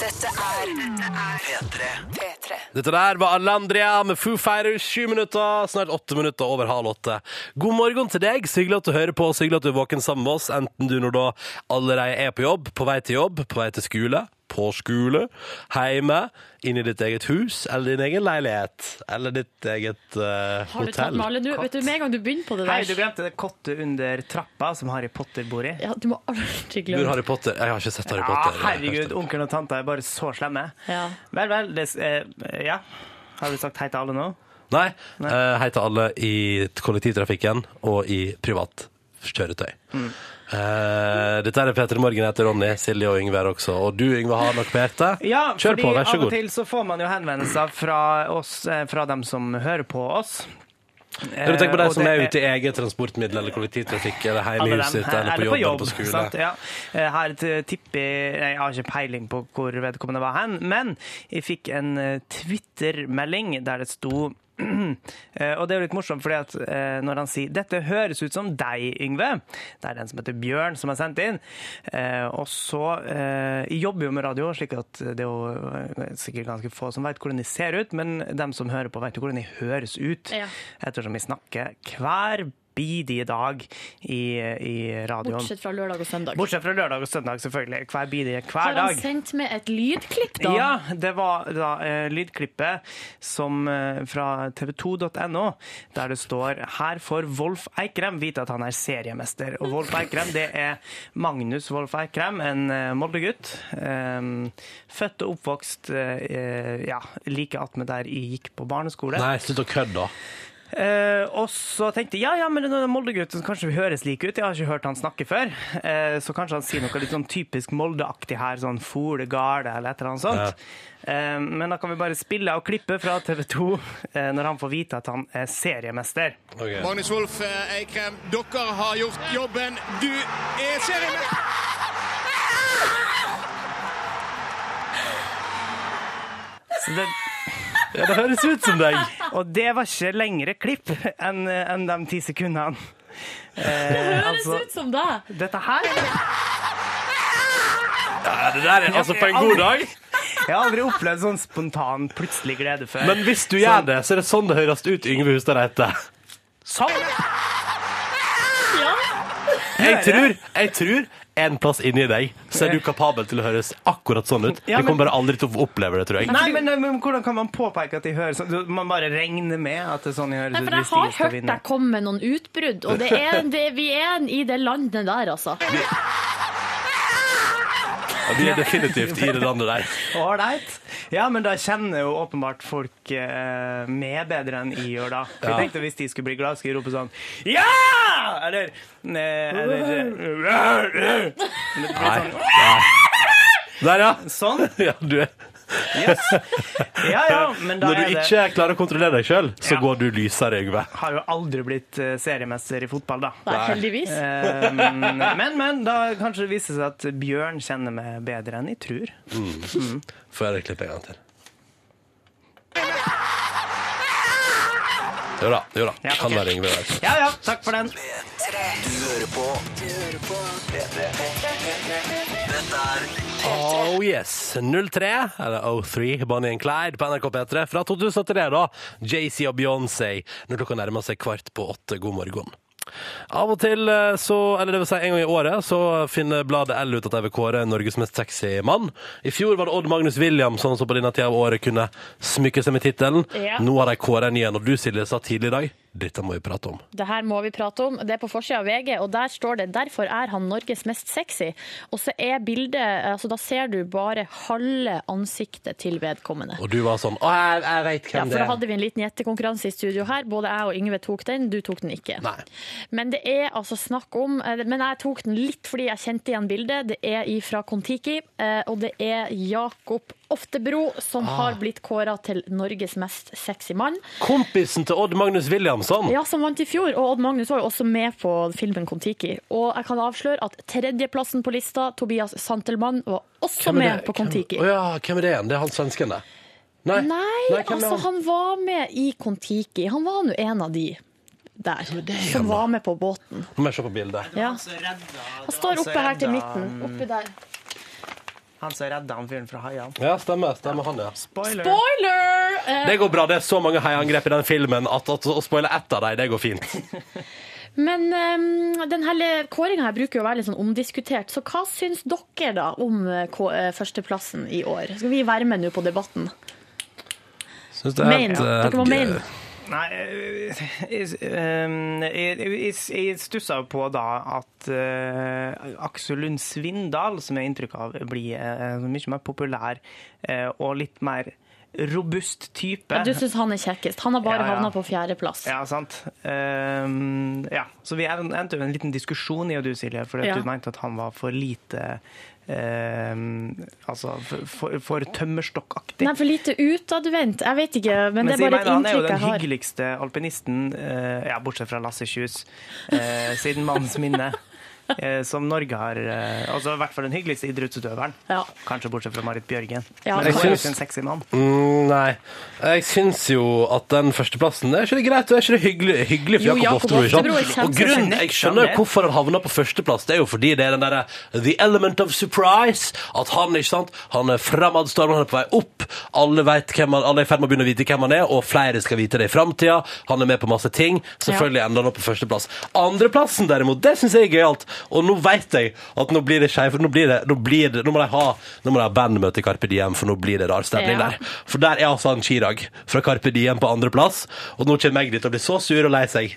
S6: Dette er P3. P3.
S1: Dette der var Alandria med Foo Fighters, sju minutter, snart åtte minutter over halv åtte. God morgen til deg, så hyggelig at du hører på, så hyggelig at du er våken sammen med oss, enten du når da allerede er på jobb, på vei til jobb, på vei til skole, på skole, hjemme, inn i ditt eget hus, eller din egen leilighet, eller ditt eget eh,
S5: Har du tatt
S1: hotell.
S5: med alle? Du, vet du, med en gang du begynner på det
S2: Hei, du
S5: der
S2: glemte det kottet under trappa som Harry Potter bor i.
S5: ja, Du må aldri
S1: Bur
S5: glemme
S1: Harry Potter. Jeg har ikke sett Harry
S2: Ja,
S1: Potter.
S2: herregud, onkelen og tanta er bare så slemme.
S5: Ja.
S2: Vel, vel, det, eh, ja. Har du sagt hei til alle nå?
S1: Nei, eh, hei til alle i kollektivtrafikken og i privat kjøretøy.
S2: Mm.
S1: Eh, dette er Peter Morgen, jeg heter Ronny, Silje og Yngve er også. Og du, Yngve, har nok på hjertet.
S2: Ja,
S1: Kjør
S2: fordi
S1: på, vær så
S2: av og
S1: god.
S2: til så får man jo henvendelser fra oss, eh, fra dem som hører på oss.
S1: Kan du tenke på
S2: Eh,
S1: deg
S2: og
S1: som
S2: det
S1: er ute i eget transportmiddel eller kollektivtrafikk eller hjemme i
S2: alle
S1: huset
S2: dem
S1: ditt
S2: her-
S1: eller på jobb eller på skole?
S2: sant? Ja. Eh, Her t- tipper jeg Jeg har ikke peiling på hvor vedkommende var hen, men jeg fikk en eh, Twitter-melding der det sto eh, og det er jo litt morsomt, fordi at eh, når han sier 'dette høres ut som deg, Yngve', det er den som heter Bjørn som har sendt inn, eh, og så eh, Jeg jobber jo med radio, slik at det er jo eh, sikkert ganske få som vet hvordan de ser ut, men dem som hører på, vet jo hvordan de høres ut
S5: Ja.
S2: ettersom vi snakker hver bidige dag i, i radioen. Bortsett.
S5: Bortsett fra lørdag og søndag.
S2: fra lørdag og søndag, selvfølgelig. Hver bidige hver
S5: Har han
S2: dag.
S5: sendt med et lydklipp, da?
S2: Ja, det var da eh, lydklippet som, eh, fra tv2.no, der det står Her får Wolf Eikrem vite at han er seriemester. Og Wolf Eikrem, det er Magnus Wolf Eikrem, en eh, Molde-gutt. Eh, født og oppvokst eh, ja, like attmed der jeg gikk på barneskole.
S1: Nei, slutt å kødde, da.
S2: Eh, og så tenkte jeg ja, ja, men den Molde-gutten kanskje vi høres like ut. Jeg har ikke hørt han snakke før. Eh, så kanskje han sier noe litt sånn typisk Molde-aktig her, sånn fole garde eller et eller annet sånt. Eh, men da kan vi bare spille og klippe fra TV 2 eh, når han får vite at han er seriemester.
S1: Ok.
S8: Magnus Wolff eh, Eikrem, dere har gjort jobben. Du er seriemester!
S2: Så det,
S1: Ja, det høres ut som deg.
S2: Og det var ikke lengre klipp enn enn de ti sekundene.
S5: Det høres
S2: altså-
S5: ut som deg!
S2: Dette her
S1: Ja, det der er altså på en god dag.
S2: Jeg har aldri opplevd sånn spontan, plutselig glede før.
S1: Men hvis du gjør det, så er det sånn det høres ut, Yngve Hustad Reite.
S2: sånn!
S5: Ja.
S1: Jeg tror, jeg tror en plass inni deg så er du kapabel til å høres akkurat sånn ut.
S2: Ja,
S1: Jeg kommer
S2: men-
S1: bare aldri til å oppleve det, tror jeg.
S2: Nei, men, men hvordan kan man påpeke at de hører sånn? Du- Man bare regner med at det er sånn de høres
S5: Nei,
S2: ut
S5: for jeg
S2: hvis de
S5: har
S2: skal
S5: hørt
S2: vinne.
S5: deg komme med noen utbrudd, og det er, det, vi er i det landet der, altså.
S1: Ja, Vi er definitivt i det landet der.
S2: Ålreit. Ja, men da kjenner jo åpenbart folk eh, med bedre enn jeg gjør, da. For
S1: Ja.
S2: Jeg tenkte hvis de skulle bli glad, skulle jeg rope sånn Ja! Eller eh, Eller eh,
S1: Der, ja.
S2: Sånn.
S1: ja du er.
S2: Yes. Ja ja, men da
S1: Når
S2: er
S1: du
S2: det
S1: ikke klarer å kontrollere deg sjøl, så
S2: Ja.
S1: går du lysere, Yngve.
S2: Har jo aldri blitt eh, seriemester i fotball, da.
S5: Nei, heldigvis.
S2: Eh, men, men da kanskje det viser seg at Bjørn kjenner meg bedre enn jeg tror.
S1: Får jeg det klippet en gang til? Jo da, jo da.
S2: Ja,
S1: Kan
S2: ok.
S1: være Yngve der.
S2: Ja ja, takk for den.
S6: Du hører på Du hører på Dette er
S1: Oh yes. 03, eller 03, Bonnie and Clyde på NRK P3 fra 2003, da. JC og Beyoncé når klokka nærmer seg kvart på åtte. God morgen. Av og til, eh, så, eller det vil si en gang i året, så finner bladet L ut at de vil kåre Norges mest sexy mann. I fjor var det Odd Magnus Williamson som på denne tida av året kunne smykke seg med tittelen.
S5: Ja.
S1: Nå har de kåra en igjen, og du, Silje, sa tidlig i dag dette må vi prate om.
S5: Det her må vi prate om. Det er på forsida av VG, og der står det 'Derfor er han Norges mest sexy'. Og så er bildet altså Da ser du bare halve ansiktet til vedkommende.
S1: Og du var sånn Å, jeg, jeg veit
S5: Ja,
S1: hvem
S5: for
S1: det
S5: da
S1: er.
S5: hadde vi en liten gjettekonkurranse i studio her. Både jeg og Yngve tok den, du tok den ikke.
S1: Nei.
S5: Men det er altså snakk om eh, Men jeg tok den litt fordi jeg kjente igjen bildet. Det er fra Kon-Tiki, eh, og det er Jakob Oftebro som
S1: Ah.
S5: har blitt kåra til Norges mest sexy mann.
S1: Kompisen til Odd Magnus Williamson.
S5: Ja, som vant i fjor. Og Odd Magnus var jo også med på filmen Kon-Tiki. Og jeg kan avsløre at tredjeplassen på lista, Tobias Santelmann, var også
S1: Hvem er
S5: med
S1: det?
S5: på Kon-Tiki.
S1: Hvem, Å ja, hvem er det igjen? Det er han svensken, det. Nei,
S5: Nei,
S1: hvem er han?
S5: altså han var med i Kon-Tiki. Han var nå en av de der som var med på båten.
S1: Nå må jeg se på bildet.
S5: Ja. Han
S1: Altså,
S5: står oppe her til
S2: redda-
S5: midten. Oppi der.
S2: Han som redda han fyren fra haiene.
S1: Ja, stemmer. stemmer han, ja.
S2: Spoiler!
S5: Boiler! Eh,
S1: Det går bra. Det er så mange heiangrep i den filmen at, at å spoile ett av dem, det går fint.
S5: Men um, denne kåringa her bruker jo å være litt sånn omdiskutert, så hva syns dere da om eh, kå- eh, førsteplassen i år? Skal vi være med nå på debatten?
S1: Synes
S5: Main. Dere må main.
S2: Nei, ehm, øh, jeg- øhm, jeg- jeg jeg stussa på da at øh, Aksel Lund Svindal, som jeg har inntrykk av blir øh, en mye mer populær øh, og litt mer robust type.
S5: Ja, du syns han er kjekkest. Han har bare
S2: Ja, ja.
S5: havna på fjerdeplass.
S2: Ja, sant. Ehm, ja. Så vi endte jo en liten diskusjon i og du, Silje, fordi at
S5: Ja.
S2: du mente at han var for lite ehm, Altså for, for, for tømmerstokkaktig.
S5: Nei, for lite utadvendt. Jeg vet ikke, men, det
S2: Mens
S5: er
S2: jeg
S5: bare et
S2: mener, han er jo
S5: inntrykk
S2: den
S5: jeg har.
S2: hyggeligste alpinisten, eh, ja, bortsett fra Lasse Kjus, eh, siden mannens minne. eh, som Norge har eh, Altså i hvert fall den hyggeligste idrettsutøveren.
S5: Ja.
S2: Kanskje bortsett fra Marit Bjørgen.
S5: Ja.
S2: Men hun er jo
S1: Jeg
S2: ikke en sexy mann.
S1: Mm, nei. Jeg syns jo at den førsteplassen Er ikke det greit? Er ikke det hyggelig, hyggelig for
S5: Jo,
S1: Jakob
S5: Jakob
S1: Oftebro? ikke sant?
S5: Oftebro er kjempe-
S1: Og grunnen, Jeg skjønner jo hvorfor han havna på førsteplass. Det er jo fordi det er den derre the element of surprise. At han ikke sant, han er fremadstormende, han er på vei opp. Alle, vet hvem han, alle er i ferd med å begynne å vite hvem han er, og flere skal vite det i framtida. Han er med på masse ting. Selvfølgelig ender han opp på førsteplass. Andreplassen, derimot, det syns jeg er gøyalt. Og nå veit jeg at nå blir det skeivt. Nå, blir det- nå, blir det- nå må de ha Nå må de ha bandmøte i Carpe Diem, for nå blir det rar stemning
S5: Ja.
S1: der. For der er altså han Chirag fra Carpe Diem på andreplass. Og nå kommer jeg dit og blir så sur og lei seg.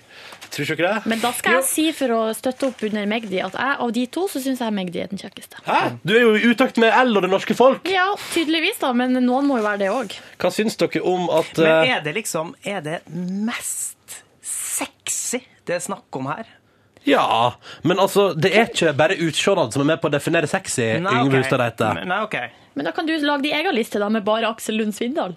S1: Tror ikke dere det?
S5: Men da skal jeg si for å støtte opp under Magdi at jeg av de to så syns jeg Magdi er den kjekkeste.
S1: Hæ? Du er jo i utakt med L og det norske folk.
S5: Ja, tydeligvis, da, men noen må jo være det òg.
S1: Hva syns dere om at
S2: Men
S1: eh,
S2: er det liksom Er det mest sexy det er snakk om her?
S1: Ja, men altså, det er ikke bare utseendet som er med på å definere sexy. Yngve Hustad Reite.
S2: Nei, ok.
S5: Men da kan du lage din egen liste da med bare Aksel Lund Svindal.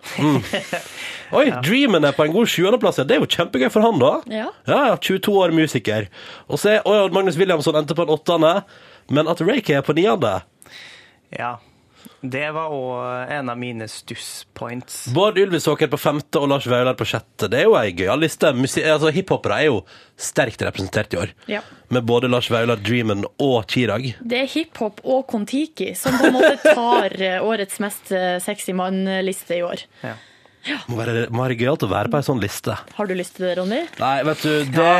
S1: Oi, Dreamen er på en god sjuendeplass. ja. Det er jo kjempegøy for han, da.
S5: Ja.
S1: ja, ja, 22 år musiker. Og så er oi, Magnus Williamson endte på en åttende, men at Rake er på niende
S2: Ja. Det var òg en av mine stusspoints.
S1: Bård Ylvisåker på femte og Lars Vaular på sjette. Det er jo ei gøyal liste. Musi- altså, Hiphopere er jo sterkt representert i år.
S5: Ja.
S1: Med både Lars Vaular, Dreamen og Chirag.
S5: Det er hiphop og Kon-Tiki som på en måte tar eh, årets mest eh, sexy mann-liste i år.
S1: Må være, må være gøyalt å være på ei sånn liste.
S5: Har du lyst til det, Ronny?
S1: Nei, vet du, det,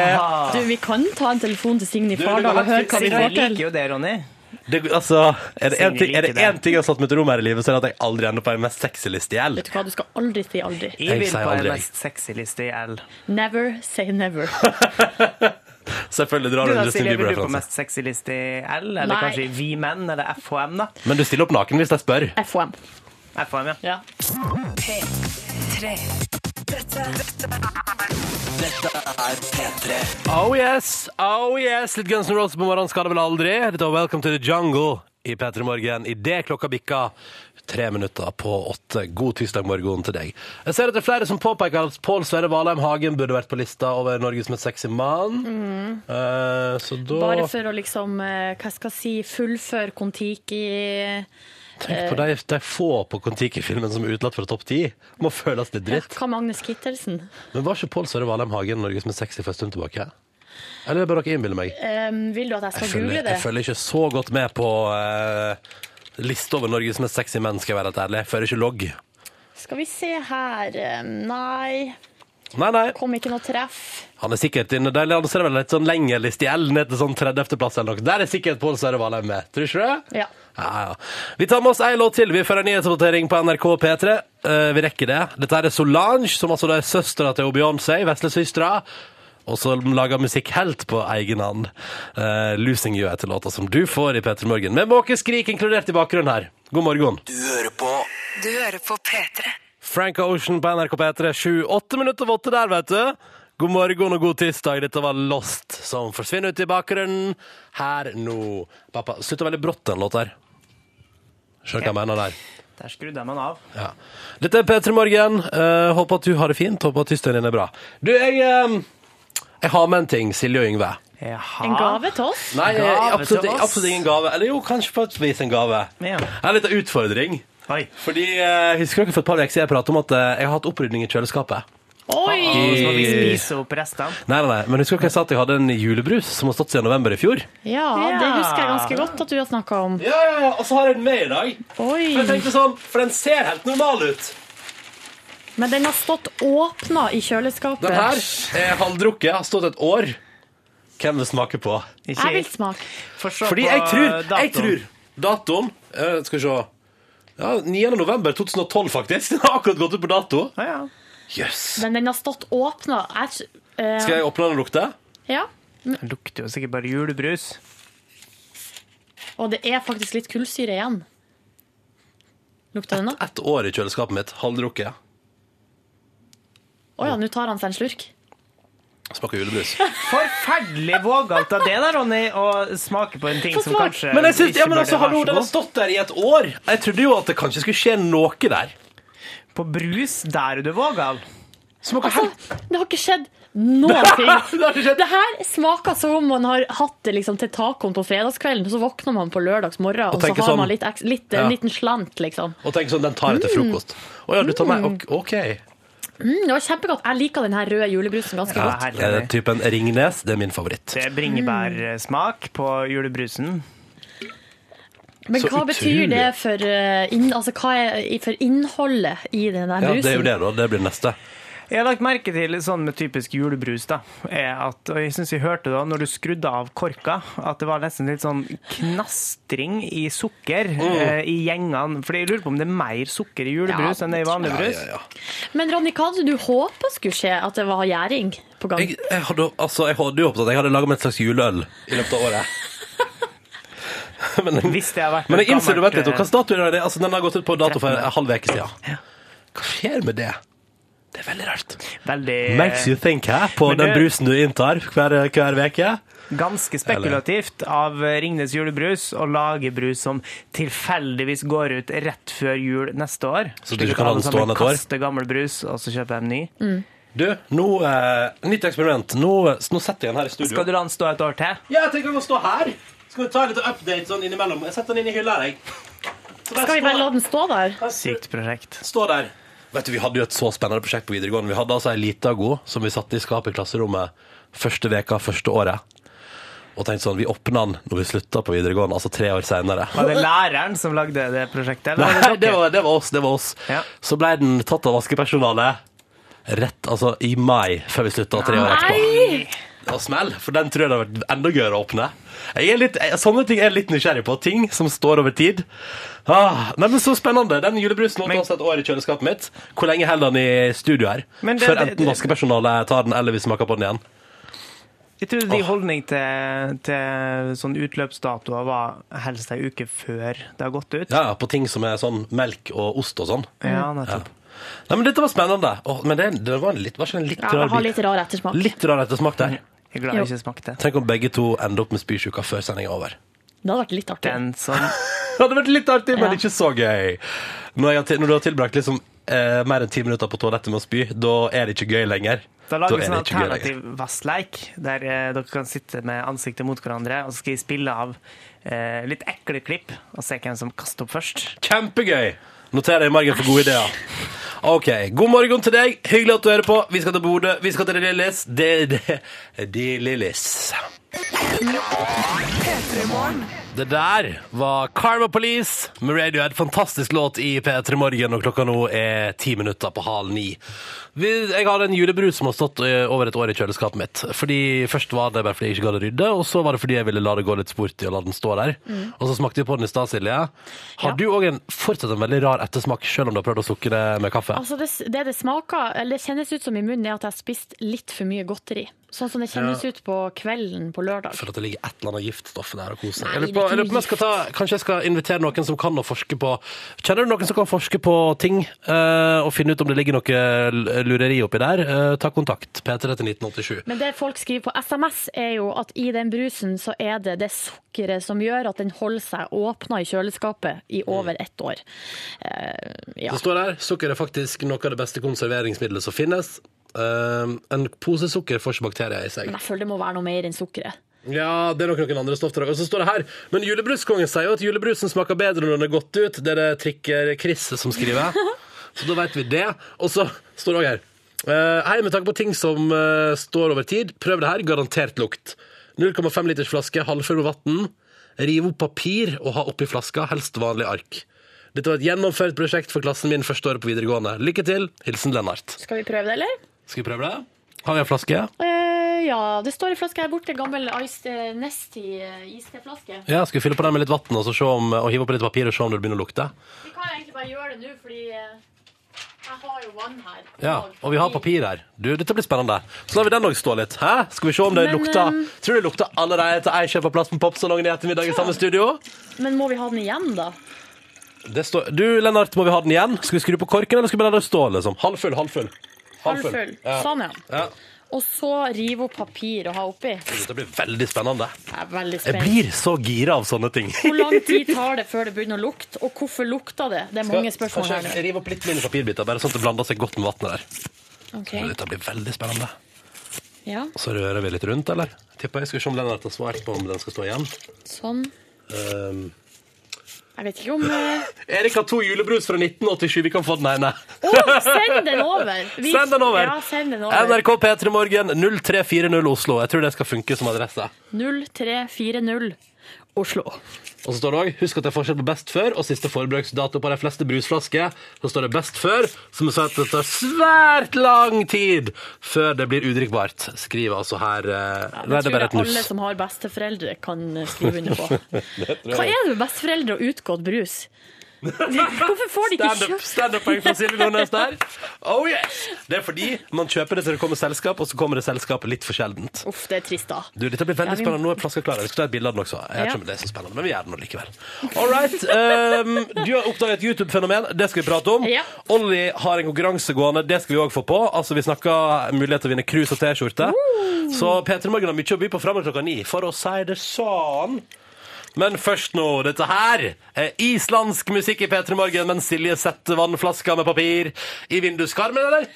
S5: Du, Vi kan ta en telefon til Signy
S1: Ah. Du,
S5: Fardal
S1: du kan
S5: og høre hva vi
S2: Sigrid
S5: får
S2: liker
S5: til.
S2: jo det, Ronny.
S1: det Altså, er det én
S2: Signe
S1: ting, er det
S2: liker det.
S1: en ting jeg har satt meg til ro med her i livet, så er det at jeg aldri ender på ei mest sexy liste i L.
S5: Vet du hva, du skal aldri si aldri.
S1: Jeg
S2: Jeg vil
S1: sier
S2: på
S1: aldri.
S2: en mest sexy liste i L.
S5: Never say never.
S1: Selvfølgelig drar
S2: Du
S1: du
S2: da,
S1: en Justin
S2: Silje, vil du på
S1: Bieber-referanse.
S2: mest sexy liste i L? Eller
S5: Nei.
S2: kanskje i Vi Menn, eller FHM, da?
S1: Men du stiller opp naken hvis jeg spør.
S5: FOM.
S2: FHM, ja.
S5: Ja.
S1: Oh yes, oh yes. Litt Guns N' Roses på morgenen skal det vel aldri. Dette var Welcome to the Jungle i P3 Morgen idet klokka bikka tre minutter på åtte. God tirsdag morgen til deg. Jeg ser at det er flere som påpeker at Pål Sverre Valheim Hagen burde vært på lista over Norges mest sexy mann.
S2: Mm.
S1: Eh, så da
S5: Bare for å liksom, eh, hva skal jeg si, fullføre Kon-Tiki.
S1: Tenk på de, de få på Kon-Tiki-filmen som er utelatt fra topp ti. Må føles litt
S5: Ja,
S1: dritt.
S5: Hva med Agnes Kittelsen?
S1: Men var ikke Pål Sverre Valheim Hagen Norges mest sexy for en stund tilbake? Eller er det bare dere innbiller meg?
S5: Um, vil du at jeg
S1: Jeg
S5: skal
S1: følger,
S5: google det?
S1: jeg følger ikke så godt med på uh, lista over Norges mest sexy menn, skal jeg være helt ærlig. Jeg fører ikke logg.
S5: Skal vi se her um, Nei,
S1: Nei, nei.
S5: kom ikke noe treff.
S1: Han er sikkert inne der. Han ser vel litt sånn lengre liste i L, ned til sånn 30.-plass eller noe. Der er sikkert Pål Sverre Valheim med. Tror du ikke det?
S5: Ja.
S1: Ja, ja. Vi tar med oss ei låt til. Vi fører nyhetsvotering på NRK P3. Eh, vi rekker det. Dette er Solange, som altså er søstera til Beyoncé, veslesøstera. Og som lager musikk helt på egen hånd. Eh, 'Losing You' heter låta som du får i P3 Morgen. Med måkeskrik inkludert i bakgrunnen her. God morgen.
S6: Du hører på
S9: Du hører på P3.
S1: Frank Ocean på NRK P3, sju, åtte minutter over åtte der, vet du. God morgen og god tirsdag. Dette var Lost, som forsvinner ut i bakgrunnen her nå. Pappa, slutter veldig brått den låta her. Skjønner hva jeg mener der.
S2: Der skrudde jeg meg av.
S1: Ja. Dette er P3 Morgen. Eh, håper at du har det fint. Håper at tirsdagen din er bra. Du, jeg, eh, jeg har med en ting, Silje og Yngve.
S2: Jaha.
S5: En gave til oss?
S1: Nei, eh,
S2: Gave
S1: absolutt,
S2: til oss?
S1: absolutt ingen gave. Eller jo, kanskje på et vis en gave.
S2: Ja.
S1: En liten utfordring.
S2: Oi.
S1: Fordi, eh, Husker dere for et par uker siden jeg pratet om at eh, jeg har hatt opprydning i kjøleskapet?
S2: Å,
S5: Oi!
S2: Så må
S1: Eh.
S2: vi spise opp restene.
S1: Nei, nei, nei, men husker dere jeg sa at jeg hadde en julebrus som har stått siden november i fjor?
S5: Ja, det husker jeg ganske godt at du har snakka om.
S1: Ja, ja, ja, og så har jeg den med i dag. For jeg
S5: Oi!
S1: tenkte sånn, for den ser helt normal ut.
S5: Men den har stått åpna i
S1: Den her
S5: kjøleskapet.
S1: er halvdrukket, har stått et år. Hvem vil smake på?
S2: Ikke
S5: Jeg vil smake.
S2: Få se
S1: Fordi
S2: på
S1: jeg tror, jeg
S2: datoen.
S1: tror, datoen, eh, skal vi se, ja, 9. november 2012 faktisk, den har akkurat gått ut på dato.
S2: Å, ja.
S1: Yes.
S5: Men den har stått åpna. Jeg, eh,
S1: Skal jeg åpne den og lukte?
S5: ja.
S2: Det lukter jo sikkert bare julebrus.
S5: Og det er faktisk litt kullsyre igjen. Lukter den nå?
S1: Et år i kjøleskapet mitt, halvdrukket.
S5: Å ja, nå tar han seg en slurk.
S1: Smaker julebrus.
S2: Forferdelig vågalt av det da, Ronny, å smake på en ting
S5: Få
S2: som
S5: smak.
S2: kanskje
S1: Men jeg synes,
S2: ikke
S1: ja, men
S2: burde
S1: altså,
S2: være
S1: hallo,
S2: så
S1: den har
S2: god.
S1: stått der i et år. Jeg trodde jo at det kanskje skulle skje noe der.
S2: På brus, der er du vågal.
S1: Smaker helt
S5: Det har ikke skjedd noen ting.
S1: Det har ikke skjedd.
S5: Det her smaker som om man har hatt det liksom, til tacoen på fredagskvelden, og så våkner man på lørdagsmorgen, og, så
S1: tenker
S5: har
S1: sånn-
S5: man litt, eks- litt,
S1: Ja.
S5: en liten slant, liksom.
S1: Og tenk sånn, den tar jeg til frokost. Å ja, du tar meg Ok. ok.
S5: Mm, det var kjempegodt. Jeg liker den her røde julebrusen ganske
S2: Ja,
S5: godt.
S2: herlig.
S1: Eh, Typen Ringnes, det er min favoritt.
S2: Det er bringebærsmak på julebrusen.
S5: Men
S1: så
S5: hva
S1: utrolig.
S5: betyr det for, eh, inn, altså, hva er, for innholdet i den der
S1: Ja,
S5: brusen?
S1: det er jo det, da. Det blir neste.
S2: Jeg har lagt merke til sånn med typisk julebrus, da, er at, og jeg syns vi hørte da når du skrudde av korka, at det var nesten litt sånn knastring i sukker
S1: Mm.
S2: eh, i gjengene. For jeg lurer på om det er mer sukker i julebrus
S5: Ja,
S2: enn det er i vanlig
S1: Ja,
S2: brus.
S1: ja, ja.
S5: Men Ronny, hva hadde du håpet skulle skje? At det var gjæring på gang?
S1: Jeg, jeg, hadde, altså, jeg hadde jo håpet at jeg hadde laga meg et slags juleøl i løpet av året. men,
S2: Hvis det har vært
S1: men
S2: et
S1: jeg innser det
S2: gammelt, eh,
S1: vært litt. Og hva dato er det? Altså, den har gått ut på dato for en
S2: 13..
S1: halv uke siden. Hva skjer med det? Det er veldig rart.
S2: Veldig
S1: Makes you think, hæ? På
S2: Eh, Men
S1: den
S2: du-
S1: brusen du inntar hver hver uke.
S2: Ganske spekulativt av Ringnes julebrus å lage brus som tilfeldigvis går ut rett før jul neste år.
S1: Så du
S2: Slik
S1: ikke
S2: at
S1: kan ha
S2: alle
S1: den
S2: sammen
S1: stående et år? Mm.
S2: Kaster gammel brus, og så kjøper jeg en ny.
S1: Du, nå eh, Nytt eksperiment. Nå, nå setter jeg den her i studio.
S2: Skal du la den stå et år til?
S1: Ja, jeg tenker å stå her. Skal vi ta litt update sånn innimellom? Jeg setter den inn i hylla, jeg. Så der
S5: Skal vi bare
S1: står-
S5: la den stå der?
S2: Sykt prosjekt.
S1: Stå der. Vet du, Vi hadde jo et så spennende prosjekt på videregående. Vi hadde altså ei lita god som vi satte i skapet i klasserommet første veka første året. Og tenkte sånn, vi åpna den når vi slutta på videregående, altså tre år seinere.
S2: Var det læreren som lagde det prosjektet? Eller? var
S1: Nei,
S2: det
S1: det
S2: dere?
S1: var, det var oss. det var oss
S2: Ja.
S1: Så ble den tatt av vaskepersonalet rett altså i mai, før vi slutta tre år etterpå.
S5: Nei!
S1: Det var smell, for den tror jeg det hadde vært enda gøyere å åpne. Jeg er litt, jeg, sånne ting er jeg litt nysgjerrig på. Ting som står over tid. Ah, nei, men Så spennende. Den julebrusen holdt
S2: Men-
S1: oss et år i kjøleskapet mitt. Hvor lenge holder den i studio her?
S2: Men det-
S1: Før
S2: det-
S1: enten vaskepersonalet tar den, eller vi smaker på den igjen.
S2: Jeg trodde din holdning til, til sånn utløpsdatoer var helst ei uke før det har gått ut.
S1: Ja, ja, På ting som er sånn melk og ost og sånn.
S2: Ja, nettopp.
S1: Nei, men Dette var spennende. Åh, men det, det var, en litt, var ikke en litt
S5: Ja,
S1: rar
S5: det har
S1: bit?
S5: litt rar ettersmak.
S1: Litt rar ettersmak der.
S2: Jeg er glad
S5: Jo.
S2: jeg ikke smakte.
S1: Tenk om begge to ender opp med spysjuka før sendinga er over.
S5: Det hadde vært litt artig.
S2: Den som
S1: Det hadde vært litt artig, men
S5: Ja.
S1: ikke så gøy. Når, jeg, har til- når du har tilbrakt liksom, eh, mer enn ti minutter på toalettet med å spy, da er det ikke gøy lenger.
S2: Da lager
S1: er
S2: vi sånn
S1: det ikke gøy
S2: alternativ vassleik, der eh, dere kan sitte med ansiktet mot hverandre, og så skal jeg spille av eh, litt ekle klipp, og se hvem som kaster opp først.
S1: Kjempegøy! Noter deg i margen for gode ideer. Ok, God morgen til deg. Hyggelig at du hører på. Vi skal til Bodø. Vi skal til De Lillis. De, de, de Lillis. Det der var Karma Police med Radiohead. Fantastisk låt i P3 Morgen, og klokka nå er ti minutter på halv ni. Vi- Jeg har en julebrus som har stått eh, over et år i kjøleskapet mitt. Fordi Først var det bare fordi jeg ikke gadd å rydde, og så var det fordi jeg ville la det gå litt sport i å la den stå der. Og så smakte vi på den i stad, Silje. Har
S5: Ja.
S1: du òg en fortsatt en veldig rar ettersmak, sjøl om du har prøvd å sukke det med kaffe?
S5: Altså det, det det smaker, eller det kjennes ut som i munnen, er at jeg har spist litt for mye godteri. Sånn som det kjennes ut på kvelden på lørdag.
S1: For at det ligger et eller annet giftstoff der og koser.
S5: Nei,
S1: Jeg lurer
S5: det
S1: på,
S5: er ikke
S1: jeg lurer på om jeg
S5: gift.
S1: skal ta, kanskje jeg skal invitere noen som kan å forske på Kjenner du noen som kan forske på ting eh, og finne ut om det ligger noe l- lureri oppi der? Eh, ta kontakt. P3 til 1987.
S5: Men det folk skriver på SMS, er jo at i den brusen så er det det sukkeret som gjør at den holder seg åpna i kjøleskapet i over ett år. Eh, ja.
S1: Det står der sukker er faktisk noe av det beste konserveringsmiddelet som finnes. Eh, en pose sukker får ikke bakterier i seg.
S5: Men jeg føler det må være noe mer enn sukkeret.
S1: Ja, det er nok noen andre stoff til det. Og så står det her Men julebruskongen sier jo at julebrusen smaker bedre når den er godt ut. Det er det trikker Chris som skriver. Så da vet vi det. Og så står det òg her eh, Hei, med tanke på ting som eh, står over tid, prøv det her. Garantert lukt. 0,5 liters flaske, halvfull med vann. Riv opp papir og ha oppi flaska, helst vanlig ark. Dette var et gjennomført prosjekt for klassen min første året på videregående. Lykke til. Hilsen Lennart.
S5: Skal vi prøve det, eller?
S1: Skal vi prøve det? Har vi en flaske?
S5: Eh, ja, det står en flaske her borte. Gammel iced, eh, Nesti eh, isteflaske.
S1: Ja, Skal vi fylle på den med litt vann og, så se om- og hive oppi litt papir og se om det begynner å lukte?
S5: Vi kan egentlig bare gjøre det nå, fordi eh, jeg har jo vann her.
S1: Ja, og vi har papir her. Du, dette blir spennende. Så lar vi den òg stå litt. Hæ? Skal vi se om det
S5: Men,
S1: lukter
S5: ehm,
S1: Tror du det lukter allerede etter jeg kjøper plass på popsalongen i ettermiddag i samme studio?
S5: Men må vi ha den igjen, da?
S1: Det står... Du, Lennart, må vi ha den igjen? Skal vi skru på korken, eller skal vi la den stå? liksom? Halvfull, halvfull.
S5: Halvfull.
S1: Ja.
S5: Sånn, ja.
S1: Ja.
S5: Og så rive opp papir og ha oppi.
S1: Dette blir veldig spennende.
S5: Jeg er veldig
S1: Jeg
S5: spent.
S1: blir så gira av sånne ting.
S5: Hvor lang tid tar det før det begynner å lukte, og hvorfor lukter det? Det er mange spørsmål her
S1: Kanskje
S5: nå.
S1: jeg river opp litt mindre papirbiter, bare sånn at det blander seg godt med vannet der.
S5: Ok.
S1: Dette blir veldig spennende.
S5: Ja,
S1: Så rører vi litt rundt, eller? Tipper jeg skal se om Lennart har svart på om den skal stå igjen.
S5: sånn.
S1: Ehm,
S5: Jeg vet ikke om eh,
S1: Erik har to julebrus fra 1987. Vi kan få den ene.
S5: Å, send den over! Vi-
S1: Send den over.
S5: Ja, send den over.
S1: NRK P3 Morgen 0340 Oslo. Jeg tror det skal funke som adresse.
S5: 0340 Oslo.
S1: Og så står det også, Husk at det er forskjell på best før og siste forbruksdato på de fleste brusflasker. Så står det best før, som sa at det tar svært lang tid før det blir udrikkbart. Skriver altså her eh, Nei,
S5: Det
S1: det er
S5: tror
S1: bare
S5: jeg
S1: et nuss.
S5: alle som har besteforeldre, kan eh, skrive under på. Hva er det med besteforeldre og utgått brus? Hvorfor får de ikke
S1: Standup-
S5: kjøpt
S1: Standup-poeng fra Silje Nordnes der. Oh yes! Det er fordi man kjøper det til det kommer selskap, og så kommer det selskap litt for sjeldent.
S5: Uff, det er trist, da.
S1: Du, dette blir veldig
S5: Ja, vi-
S1: spennende. Nå er flaska klar. Vi skal ta et bilde av den også. Jeg vet
S5: Ja.
S1: ikke om det er så spennende, men vi gjør det nå likevel. All right. ehm, du har oppdaget et YouTube-fenomen. Det skal vi prate om.
S5: Ja.
S1: Olli har en konkurranse gående. Det skal vi òg få på. Altså, Vi snakker mulighet til å vinne krus og T-skjorte. Så P3 Morgen har mye å by på framover klokka ni, for å si det sånn. Men først nå, dette her er islandsk musikk i P3 Morgen mens Silje setter vannflaska med papir i vinduskarmen, eller?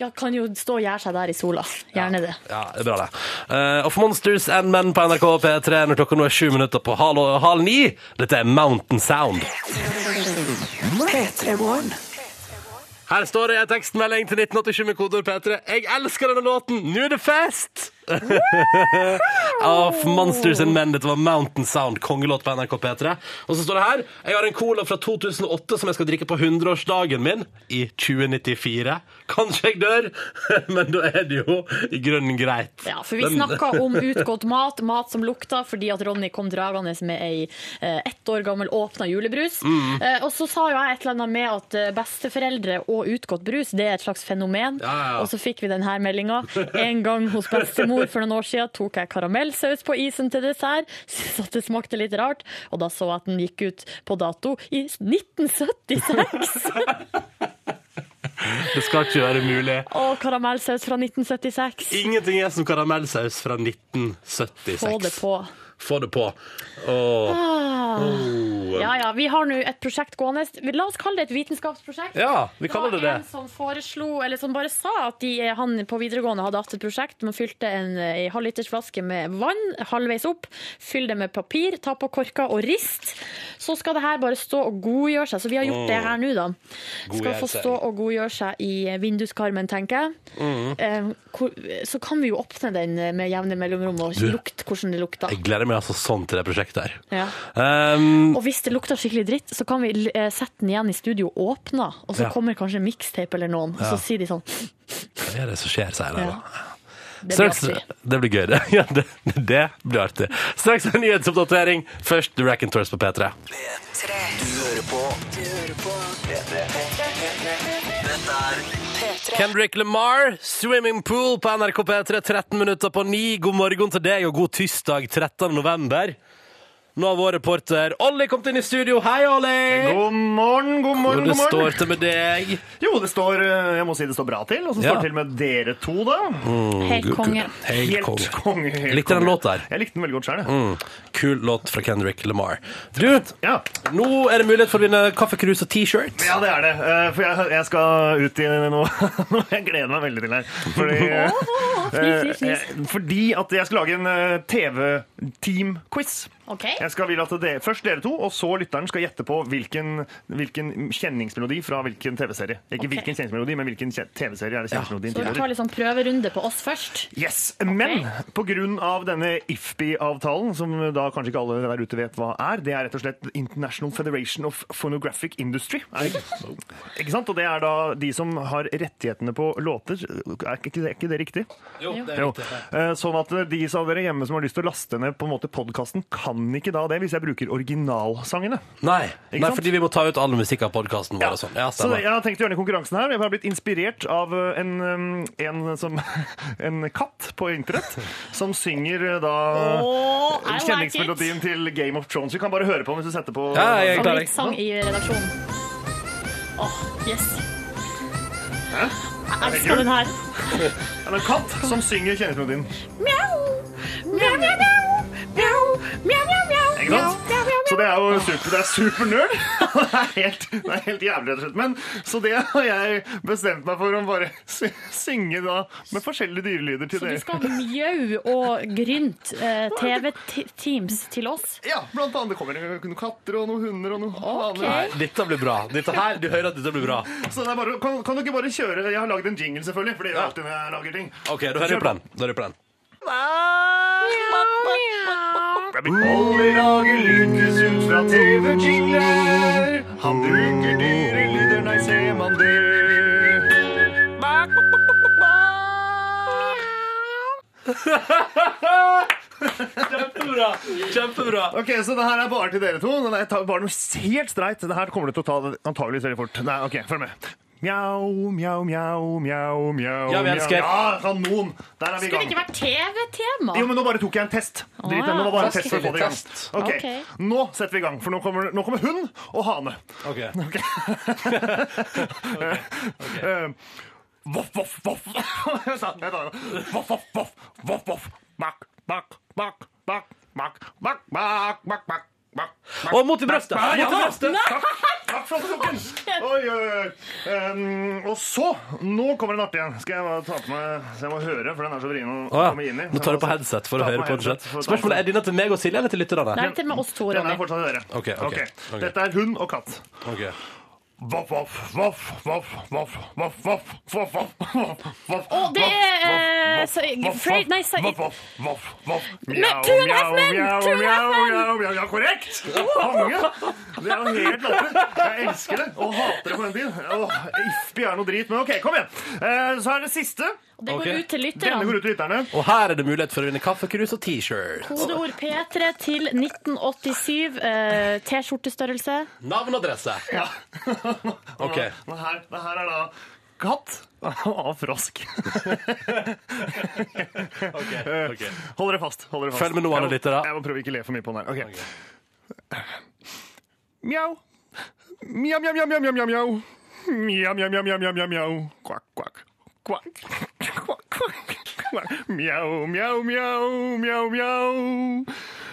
S5: Ja, kan jo stå og gjøre seg der i sola. Gjerne det.
S1: Ja, det er bra det. Eh, og for Monsters and Men på NRK P3 når klokka nå er sju minutter på halv, halv ni. Dette er Mountain Sound.
S9: P3-morgen.
S1: Her står det i en tekstmelding til 1987 med kodeord P3. Jeg elsker denne låten! Nå er det fest! Of Monsters and Men. Dette var Mountain Sound, kongelåt på NRK P3. Og så står det her Jeg har en cola fra 2008 som jeg skal drikke på 100-årsdagen min i 2094. Kanskje jeg dør, men da er det jo i grunnen greit.
S5: Ja, for vi
S1: Den-
S5: snakka om utgått mat, mat som lukta, fordi at Ronny kom dragende med ei eh, ett år gammel åpna julebrus.
S1: Mm.
S5: Eh, Og så sa jo jeg et eller annet med at eh, besteforeldre og utgått brus, det er et slags fenomen.
S1: Ja, ja, ja.
S5: Og så fikk vi denne meldinga. En gang hos bestemor for noen år siden tok jeg karamellsaus på isen til dessert. Syntes at det smakte litt rart, og da så jeg at den gikk ut på dato i 1976.
S1: Det skal ikke være mulig.
S5: Og karamellsaus fra 1976.
S1: Ingenting er som karamellsaus fra 1976.
S5: Få det på.
S1: Få det på. Åh.
S5: Ja, ja, Vi har nå et prosjekt gående. La oss kalle det et vitenskapsprosjekt.
S1: Ja, vi kaller det
S5: var en
S1: det.
S5: som foreslo, eller som bare sa at de, eh, han på videregående hadde hatt et prosjekt. Man fylte en, eh, en halvlitersflaske med vann halvveis opp, fyll det med papir, ta på korker og rist. Så skal det her bare stå og godgjøre seg. Så vi har gjort det her nå, da. Skal få
S1: seg.
S5: stå og godgjøre seg i eh, vinduskarmen, tenker jeg. Eh, hvor- Så kan vi jo åpne den eh, med jevne mellomrom og lukte hvordan det lukter.
S1: Jeg gleder meg altså sånn til det prosjektet her.
S5: Ja.
S1: Um,
S5: Og hvis det lukter skikkelig dritt, så kan vi eh, sette den igjen i studio og åpne, og så
S1: Ja.
S5: kommer kanskje en mixtape eller noen, og så sier de sånn
S1: hva er det som skjer, sier jeg da.
S5: Det blir
S1: Straks,
S5: artig.
S1: det blir gøy, det. Ja, det, det blir artig. Straks en nyhetsoppdatering. Først The Rack and Tours på P3.
S9: P3.
S6: Du hører på Du hører på Dette Dette er
S9: P3.
S1: Kendrick Lamar, Swimming Pool på NRK P3, 13 minutter på 9. God morgen til deg, og god tirsdag 13. november. Nå har vår reporter Olli kommet inn i studio. Hei, Olli!
S3: God morgen, god morgen,
S1: Hvor det
S3: god morgen.
S1: står til med deg.
S3: Jo, det står, eh, jeg må si det står bra til. Og så
S1: Ja.
S3: står det til med dere to, da.
S5: Helt konge.
S1: Helt konge.
S3: konge. helt
S1: Likte den
S3: konge.
S1: låta her.
S3: Jeg likte den veldig godt sjøl, jeg.
S1: Mm. Kul låt fra Kendrick Lamar. Du,
S3: Ja.
S1: nå er det mulighet for å vinne kaffekrus og T-shirt.
S3: ja, det er det. Eh, For jeg, jeg skal ut i noe, noe jeg gleder meg veldig til her. Fordi,
S5: Åh,
S3: eh,
S5: fnis, fnis, fnis.
S3: eh, fordi at jeg skal lage en eh, TV-team-quiz.
S5: OK.
S3: Jeg skal vil at det, Først dere to, og så lytteren skal gjette på hvilken, hvilken kjenningsmelodi fra hvilken TV-serie. Ikke
S5: Ok.
S3: hvilken kjenningsmelodi, men hvilken kje- TV-serie er det kjenningsmelodien
S5: Så vi
S3: tilhører.
S5: tar litt sånn prøverunde på oss først.
S3: Yes, Men på grunn av denne IFPI-avtalen, som da kanskje ikke alle der ute vet hva er, det er rett og slett International Federation of Phonographic Industry. Er det ikke? ikke sant? Og det er da de som har rettighetene på låter. Er ikke det, er ikke det riktig? Jo. Eh, Sånn at de av dere hjemme som har lyst til å laste ned på en måte podkasten, kan ikke da det hvis jeg bruker originalsangene.
S1: Nei,
S3: Ikke
S1: Nei
S3: sant?
S1: fordi vi må ta ut all musikk av podkasten vår. og sånn. Ja,
S3: så
S1: stemmer.
S3: jeg har tenkt å gjøre den konkurransen her. Jeg har blitt inspirert av eh, en, eh, en, som, en katt på internett som synger eh, da
S5: Åh, I like it!
S3: Kjenningsmelodien til Game of Thrones. Vi kan bare høre på den hvis du setter på
S1: Ja, jeg er klar. jeg.
S5: Favorittsang i redaksjonen. Åh, yes. Jeg elsker den her.
S3: Ja, det er en katt som synger kjenningsmelodien.
S5: Mjau, mjau, mjau, mjau. Mjau, mjau, mjau, mjau.
S3: Ikke sant? Så det er jo super, det er supernerd. Det er helt, det er helt jævlig, rett og slett. Men, så det har jeg bestemt meg for å bare sy- synge da med forskjellige dyrelyder til
S5: Så du
S3: dere.
S5: skal mjau og grynt eh, TV-teams til oss?
S3: Ja, blant annet. Det kommer noen katter og noen hunder og noen
S5: Ok.
S3: haner.
S1: Nei, dette blir bra. Dette her, du hører at dette blir bra.
S3: Så det er bare, kan, kan du ikke bare kjøre Jeg har lagd en jingle, selvfølgelig, for det gjør jeg alltid når jeg lager ting.
S1: OK, da hører vi på den. Da hører vi på den.
S3: Olli lager lydkurs ut fra TV-jingler. Han bruker dyrelyder, nei, ser man det.
S1: Kjempebra! Kjempebra.
S3: Ok, Så det her er bare til dere to. Den er ta- bare noe helt streit. Det her kommer du til å ta det antageligvis veldig fort. Nei, ok, følg med. Mjau, mjau, mjau, mjau, mjau.
S1: Ja, vi elsker.
S3: mjau. Ja, kanon! Der er vi i
S5: Skulle det
S3: gang.
S5: ikke vært TV-tema?
S3: Jo, men nå bare tok jeg en test. Drit, i det,
S5: ja.
S3: nå var bare en
S5: Test,
S3: test for å få det i gang.
S1: test.
S3: Ok,
S5: Ok.
S3: Nå setter vi i gang, for nå kommer, nå kommer hund og hane.
S1: Ok.
S3: Eh, Voff, voff, voff. Jeg sa- jeg sa- Voff, voff, voff. Voff, voff. Bak, bak, bak, bak, bak, bak, bak, bak, bak. bak, bak.
S1: Og mot i brøstet!
S3: Ja,
S1: Mot i
S3: ja.
S1: brøstet!
S3: Takk, takk for at du tok den. Å, Oi, oi, oi. Um, og så Nå kommer den artig igjen. Skal jeg bare ta på meg Så jeg må høre, for den er så vrien å
S1: Å,
S3: komme inn i.
S1: ja. Nå tar du på headset for å
S3: Ta
S1: høre
S3: meg
S1: på. den
S3: headset
S1: selv.
S3: for å ta
S1: Spørsmålet
S3: den.
S1: er denne til meg og Silje eller til lytterne?
S5: Nei, til med oss to,
S3: Den er
S5: Ronny.
S3: fortsatt å høre.
S1: Ok, ok, ok.
S3: Dette er hund og katt.
S1: Ok.
S3: Voff, voff, voff, voff, voff, voff, voff, voff, voff, voff, voff,
S5: Å, det er, eh,
S3: voff, voff,
S5: så-
S3: voff,
S5: Fred-
S3: voff,
S5: nei, så-
S3: voff, voff, voff, voff.
S5: Men
S3: Mjau,
S5: Two and a Half
S3: mjau,
S5: Men!
S3: mjau,
S5: Two and a Half
S3: mjau,
S5: Men!
S3: mjau, mjau. Ja, korrekt! Konge! Det er jo helt latterlig. Jeg elsker det, og hater det på den tiden. Åh, Ifpi er noe drit, men ok, kom igjen. Eh, Så er det siste.
S5: Det går
S1: Ok.
S5: ut til
S3: Denne
S5: lytterne.
S3: går ut til lytterne.
S1: Og her er det mulighet for å vinne kaffekrus og T-shirt.
S5: Kodeord P3 til 1987. eh, T-skjortestørrelse.
S1: Navn og adresse.
S3: Ja.
S1: Ok.
S3: Men her, men her er da katt av frosk. Hold dere fast. hold dere fast.
S1: Følg med nå, alle
S3: Jeg må-
S1: lyttere.
S3: Jeg må prøve ikke å le for mye på den her. Ok. Mjau. Mjau, mjau, mjau, mjau, mjau, mjau, mjau. Mjau, mjau, mjau, mjau, mjau, mjau, mjau. Kvakk, kvakk. Kvakk. Kvakk, kvakk. kvakk. Mjau, mjau, mjau, mjau, mjau.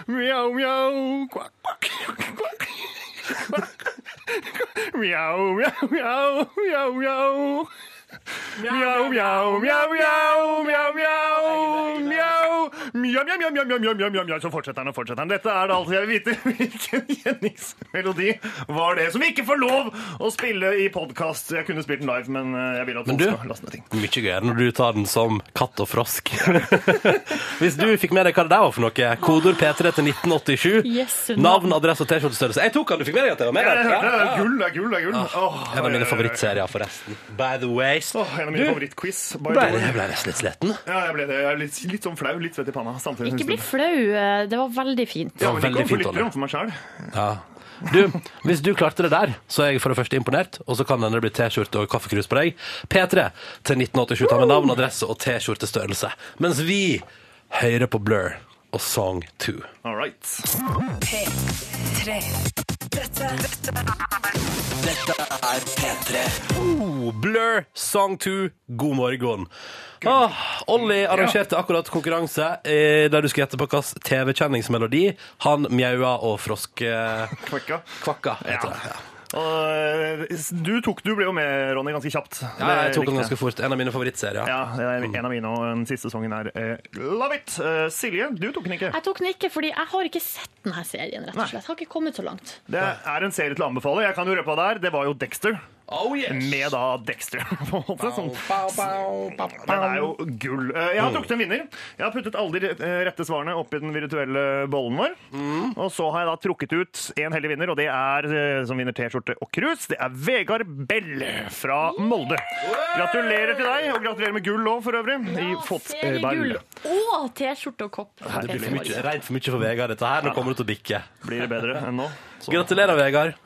S3: Mjau, mjau. Kvakk, kvakk. Kvakk. Mjau, mjau, mjau, mjau, mjau. Mjau, mjau, mjau, mjau, mjau, mjau, mjau. Mjau, mjau, mjau, mjau, mjau, mjau, mjau, mjau. Så fortsetter han og fortsetter han. Dette er det altså jeg vil vite. Hvilken gjenningsmelodi var det som ikke får lov å spille i podkast? Jeg kunne spilt den live, men eh, jeg vil at
S1: Men
S3: folk
S1: du-
S3: skal laste ned ting.
S1: Mye gøyere når du tar den som katt og frosk. Hvis du fikk med deg hva det der var for noe, kodord P3 til 1987,
S5: Yes,
S1: navn, adresse og T-skjortestørrelse. Jeg tok den, du fikk med deg at jeg var med
S3: Jeg
S1: der?
S3: hørte det.
S1: Ja,
S3: Det er
S1: ja.
S3: Gull det er gull, det er gull. Åh,
S1: En av mine
S3: oi, oi, oi.
S1: favorittserier, forresten. By the way.
S3: Åh, en av mine favorittquiz. by
S1: Ble,
S3: the way.
S1: jeg ble nesten litt sliten.
S3: Ja, jeg ble det. Jeg er litt, litt sånn flau, litt svett i panna. samtidig.
S5: Ikke bli flau. eh, Det var veldig fint.
S3: ja, men
S1: Veldig
S3: ikke
S1: fint, Olle.
S3: overfor lyttere, overfor meg selv.
S1: Ja. Du, hvis du klarte det der, så er jeg for det første imponert, og så kan det hende det bli T-skjorte og kaffekrus på deg. P3 til 1987. Ta med navn, adresse og T-skjortestørrelse. Mens vi hører på Blur og Song 2.
S3: All right.
S9: P3. Dette, dette er
S1: Oh, Blur Song 2, god morgen. Ah, Olli arrangerte akkurat konkurranse eh, der du skulle gjette på hvilken TV-kjenningsmelodi han mjaua og froskekvakka
S3: Kvakka.
S1: heter. det. Ja.
S3: Og, eh, du, tok, du ble jo med, Ronny, ganske kjapt.
S1: Ja, jeg tok den
S3: Riktig.
S1: ganske fort. En av mine favorittserier.
S3: Ja, det er en av mine, og den siste sangen er eh, Love It. Eh, Silje, du tok den ikke.
S5: Jeg tok den ikke fordi jeg har ikke sett denne serien, rett
S3: Nei.
S5: og slett. Jeg har ikke kommet så langt.
S3: Det er en serie til å anbefale. Jeg kan jo røpe hva det er. Det var jo Dexter.
S1: Oh, yes.
S3: Med da Dexter, på en måte. Som,
S1: Bow, bow, bow, bow.
S3: den er jo gull. Eh, Jeg har
S1: Mm.
S3: trukket en vinner. Jeg har puttet alle de eh, rette svarene oppi den virtuelle bollen vår.
S1: Mm.
S3: Og så har jeg da trukket ut en heldig vinner, og det er eh, som vinner T-skjorte og krus. Det er Vegard Bell fra Molde. Gratulerer til deg, og gratulerer med gull òg, for øvrig. I eh,
S5: Seriegull
S3: fotball
S5: og T-skjorte og kopp.
S1: Det blir for mye, rent for mye for Vegard, dette her. Nå kommer du til å bikke.
S3: blir det bedre enn nå. Så-
S1: Sånn. Gratulerer, Vegard.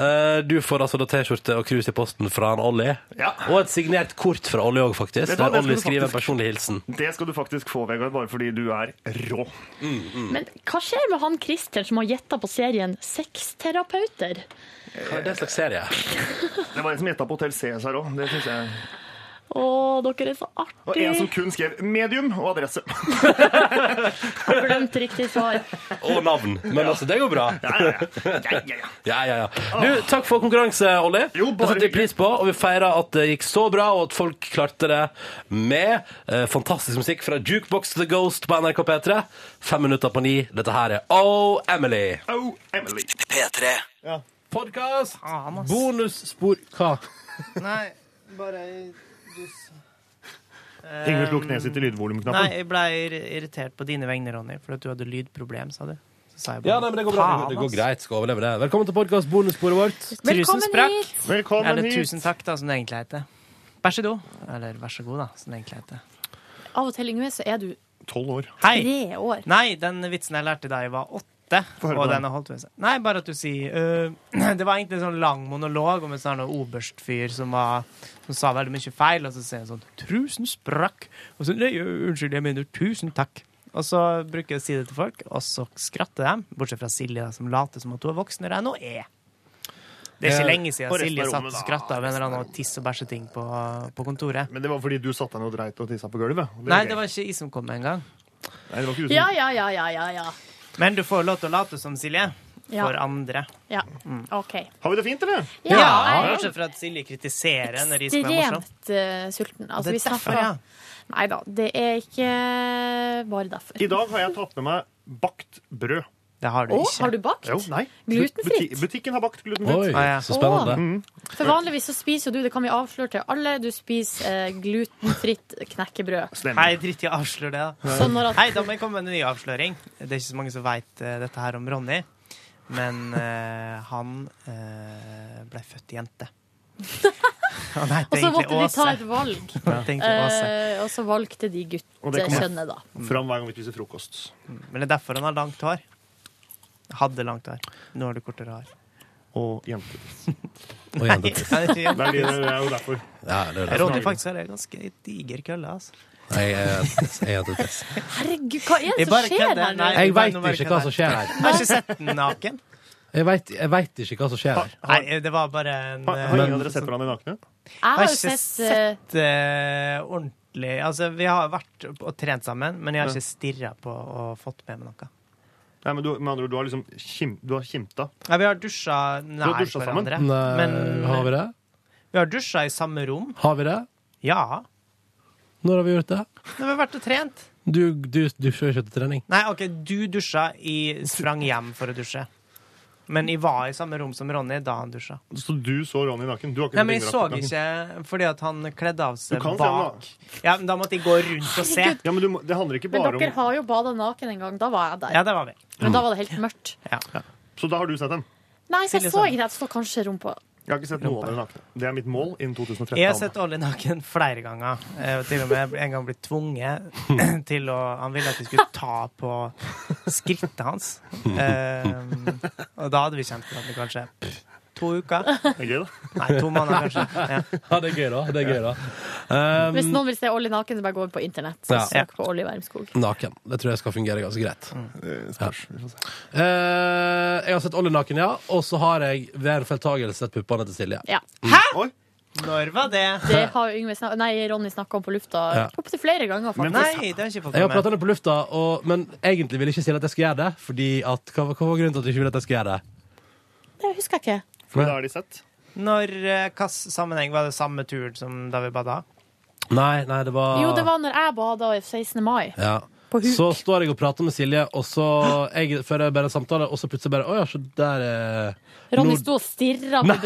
S1: Eh, Du får altså da T-skjorte og krus i posten fra han Olli.
S3: Ja.
S1: Og et signert kort fra Olli òg, faktisk.
S3: Vet du hva,
S1: Der
S3: det skal
S1: Olli
S3: du
S1: skriver en
S3: faktisk-
S1: personlig hilsen.
S3: Det skal du faktisk få, Vegard, bare fordi du er rå.
S5: Men hva skjer med han Christian som har gjetta på serien Sexterapeuter?
S1: Hva er det slags serie?
S3: Det var en som gjetta på Hotell Cæsar òg. Det synes jeg.
S5: Å, dere er så
S3: Og en som
S5: artige!
S3: kun skrev medium og adresse.
S5: Har glemt riktig svar.
S1: Og navn. Men altså, det går bra.
S3: Ja, ja, ja. ja, ja, ja.
S1: Ja, ja, ja. Du, takk for konkurranse, Olli.
S3: Jo,
S1: det
S3: bare
S1: setter vi
S3: hyggelig.
S1: pris på, og vi feirer at det gikk så bra, og at folk klarte det med eh, fantastisk musikk fra Jukebox to the Ghost på NRK P3. Fem minutter på ni. Dette her er Oh Emily.
S3: Oh, Emily.
S6: P3
S1: Podkast!
S3: Ah,
S2: Faen, ass.
S1: Bonusspor Hva?
S10: Nei, bare dus.
S3: Ingvild slukk ned sitt i lydvolumknappen.
S2: Nei, jeg ble ir- irritert på dine vegne, Ronny, for at du hadde lydproblem, sa du. Så sa jeg bare
S1: Ja, nei, men det går bra. Det går-
S2: faen,
S1: Det går
S2: ass.
S1: greit. Skal overleve det. Velkommen til podkast bonussporet vårt.
S2: Tusen
S5: Velkommen
S2: sprakk.
S5: hit!
S3: Velkommen
S2: Eller
S3: hit.
S2: tusen takk, da, som det egentlig heter. Vær så god. Eller vær så god, da, som det egentlig heter.
S4: Av og til, Yngve, så er du
S3: Tolv år.
S2: Hei!
S4: tre år.
S2: Nei, den vitsen jeg lærte da jeg var åtte.
S3: Få høre på
S2: Og
S3: den.
S2: den har holdt ved seg. Nei, bare at du sier øh, Det var egentlig en sånn lang monolog om en sånn oberstfyr som, var- som sa veldig mye feil, og så sier han sånn 'Tusen sprakk'. Og så 'Nei, øh, unnskyld, jeg mener tusen takk'. Og så bruker jeg å si det til folk, og så skratter de. Bortsett fra Silje, da, som later som at hun er voksnere enn hun er. Det er ikke
S1: Ja,
S2: lenge
S3: og
S2: siden
S3: resten
S2: Silje
S3: av
S2: satt
S3: Eh, rommet,
S2: og
S3: da.
S2: skratta av en eller annen tiss- og bæsjeting på, på kontoret.
S3: Men det var fordi du satte deg ned og dreit og tissa på gulvet. Og
S2: Nei, det var ikke jeg som kom med engang.
S3: Nei, det var ikke du som...
S5: Ja, ja, ja, ja, ja. ja.
S2: Men du får lov til å late som, Silje.
S4: Ja.
S2: for andre.
S4: Ja,
S2: Mm.
S4: OK.
S3: Har vi det fint, eller?
S4: Ja, Ja, jeg-
S2: Bortsett fra at Silje kritiserer når de som er morsomme.
S4: Ekstremt eh, sulten. Altså,
S2: Det er
S4: vi snakker
S2: derfor, ja.
S4: Nei da, det er ikke bare derfor.
S3: I dag har jeg tatt med meg bakt brød.
S2: Det har
S4: du Å, ikke. har du bakt?
S3: Jo, nei.
S4: Glutenfritt?
S3: Buti- butikken har bakt
S1: Oi,
S3: glutenfritt.
S1: Ah, ja. så spennende.
S3: Mm.
S4: For vanligvis så spiser jo du, det kan vi avsløre til alle, du spiser eh, glutenfritt knekkebrød.
S2: Hei, dritt i å avsløre det, da.
S4: Så når at-
S2: Hei, da må jeg komme med en ny avsløring. Det er ikke så mange som veit dette her om Ronny, men eh, han eh, ble født jente. Han heter
S4: Og så
S2: egentlig
S4: måtte de ta
S2: Åse.
S4: et valg.
S2: Han heter egentlig Åse.
S4: Eh, og så valgte de
S2: Og det kommer-
S4: guttekjønnet, da.
S3: Fram hver gang vi spiser frokost.
S2: Men det er derfor han har langt hår. Hadde langt hår. Nå har du kortere hår.
S3: Og jentetiss.
S2: Og jentetiss. Nei, altså- det er ikke
S3: Det er- det er jo
S2: jentetiss.
S3: derfor.
S1: Ja, det er derfor.
S2: Ronny faktisk har en ganske diger kølle, altså.
S1: Nei, jeg, jeg, jeg,
S4: Herregud, hva er det
S2: Jeg
S4: som
S2: bare
S4: skjer
S2: kødder.
S4: her?
S2: Nei,
S1: Jeg
S2: bare-
S1: vet
S2: nå bare
S1: ikke hva
S2: kødder.
S1: som skjer her.
S2: Jeg har ikke sett den naken.
S1: jeg, vet, jeg vet ikke hva som skjer her.
S2: Nei, det var bare en
S1: Har- har ingen av dere
S3: sett hverandre nakne?
S4: Jeg har jo
S2: ikke
S4: sett, eh,
S2: sett eh, ordentlig Altså, vi har vært opp- og trent sammen, men jeg har
S3: Ja.
S2: ikke stirra på og fått med meg noe.
S3: Nei, men du, med andre ord, du har liksom kim, du har kimta.
S2: Ja, vi har dusja nær
S3: dusja sammen?
S2: hverandre.
S3: Nei,
S1: eh, har vi det?
S2: Vi har dusja i samme rom.
S1: Har vi det?
S2: Ja.
S1: Når har vi gjort det?
S2: Når vi har vært og trent.
S1: Du du dusjer jo ikke til trening.
S2: Nei, OK, du dusja i Sprang hjem for å dusje. Men jeg var i samme rom som Ronny da han dusja.
S3: Så du så Ronny naken? Du har ikke
S2: Nei, men jeg
S3: sett
S2: så
S3: Ingrid
S2: ikke
S3: naken.
S2: fordi at han kledde av seg
S3: Du kan se han
S2: bak. Ja, men Da måtte jeg gå rundt og se.
S4: Herregud.
S3: Ja, men du må- Det handler ikke
S4: Men
S3: bare
S4: dere
S3: om
S4: har jo bada naken en gang. Da var jeg der.
S2: Ja, det var vi.
S4: Men da var det helt mørkt.
S3: Så da har du sett dem?
S4: Nei, så
S3: Silje
S4: jeg
S3: sa
S4: så ikke det. Jeg så kanskje rumpa.
S3: Jeg har ikke sett noen av dere nakne. Det er mitt mål innen 2013.
S2: Jeg har sett Olli naken flere ganger. Eh, og til og med en gang blitt tvunget til å Han ville at vi skulle ta på skrittet hans. Eh, og da hadde vi kjent hverandre kanskje pff, to uker.
S3: gøy, da.
S2: Nei, to måneder kanskje. Ja.
S1: Ja, det er gøy, da. Det er gøy, da. Um,
S4: Hvis noen vil se Olli naken, så bare gå inn på internett. Så
S1: Ja.
S4: Søk på Olli Wermskog.
S1: Naken. Det tror jeg skal fungere ganske greit. Ja. Eh, jeg har sett Olli naken, ja. Og så har jeg ved en feiltagelse sett puppene til Silje.
S4: Ja.
S2: Hæ?! Når var det?
S4: Det har jo Yngve snak Nei, Ronny snakka om på lufta
S1: Ja.
S4: opptil flere ganger, faktisk.
S2: Nei, det har jeg ikke
S1: Jeg har
S2: fått
S1: prata
S2: med
S1: om det på lufta, og, men egentlig ville ikke Silje at jeg skulle gjøre det. Fordi at, hva, hva var grunnen til at du ikke ville at jeg skulle gjøre det?
S4: Det husker jeg ikke.
S1: For
S3: da har de sett?
S2: Når eh, hva sammenheng var det samme turen som da vi bada?
S1: Nei, nei, det var
S2: Ah.
S4: Jo, det var når jeg bada 16. mai.
S1: ja. Så står jeg og prater med Silje, og så jeg, fører jeg bare en samtale, og så plutselig bare Å ja, så der eh, er
S4: Ronny sto og stirra på
S1: Nei,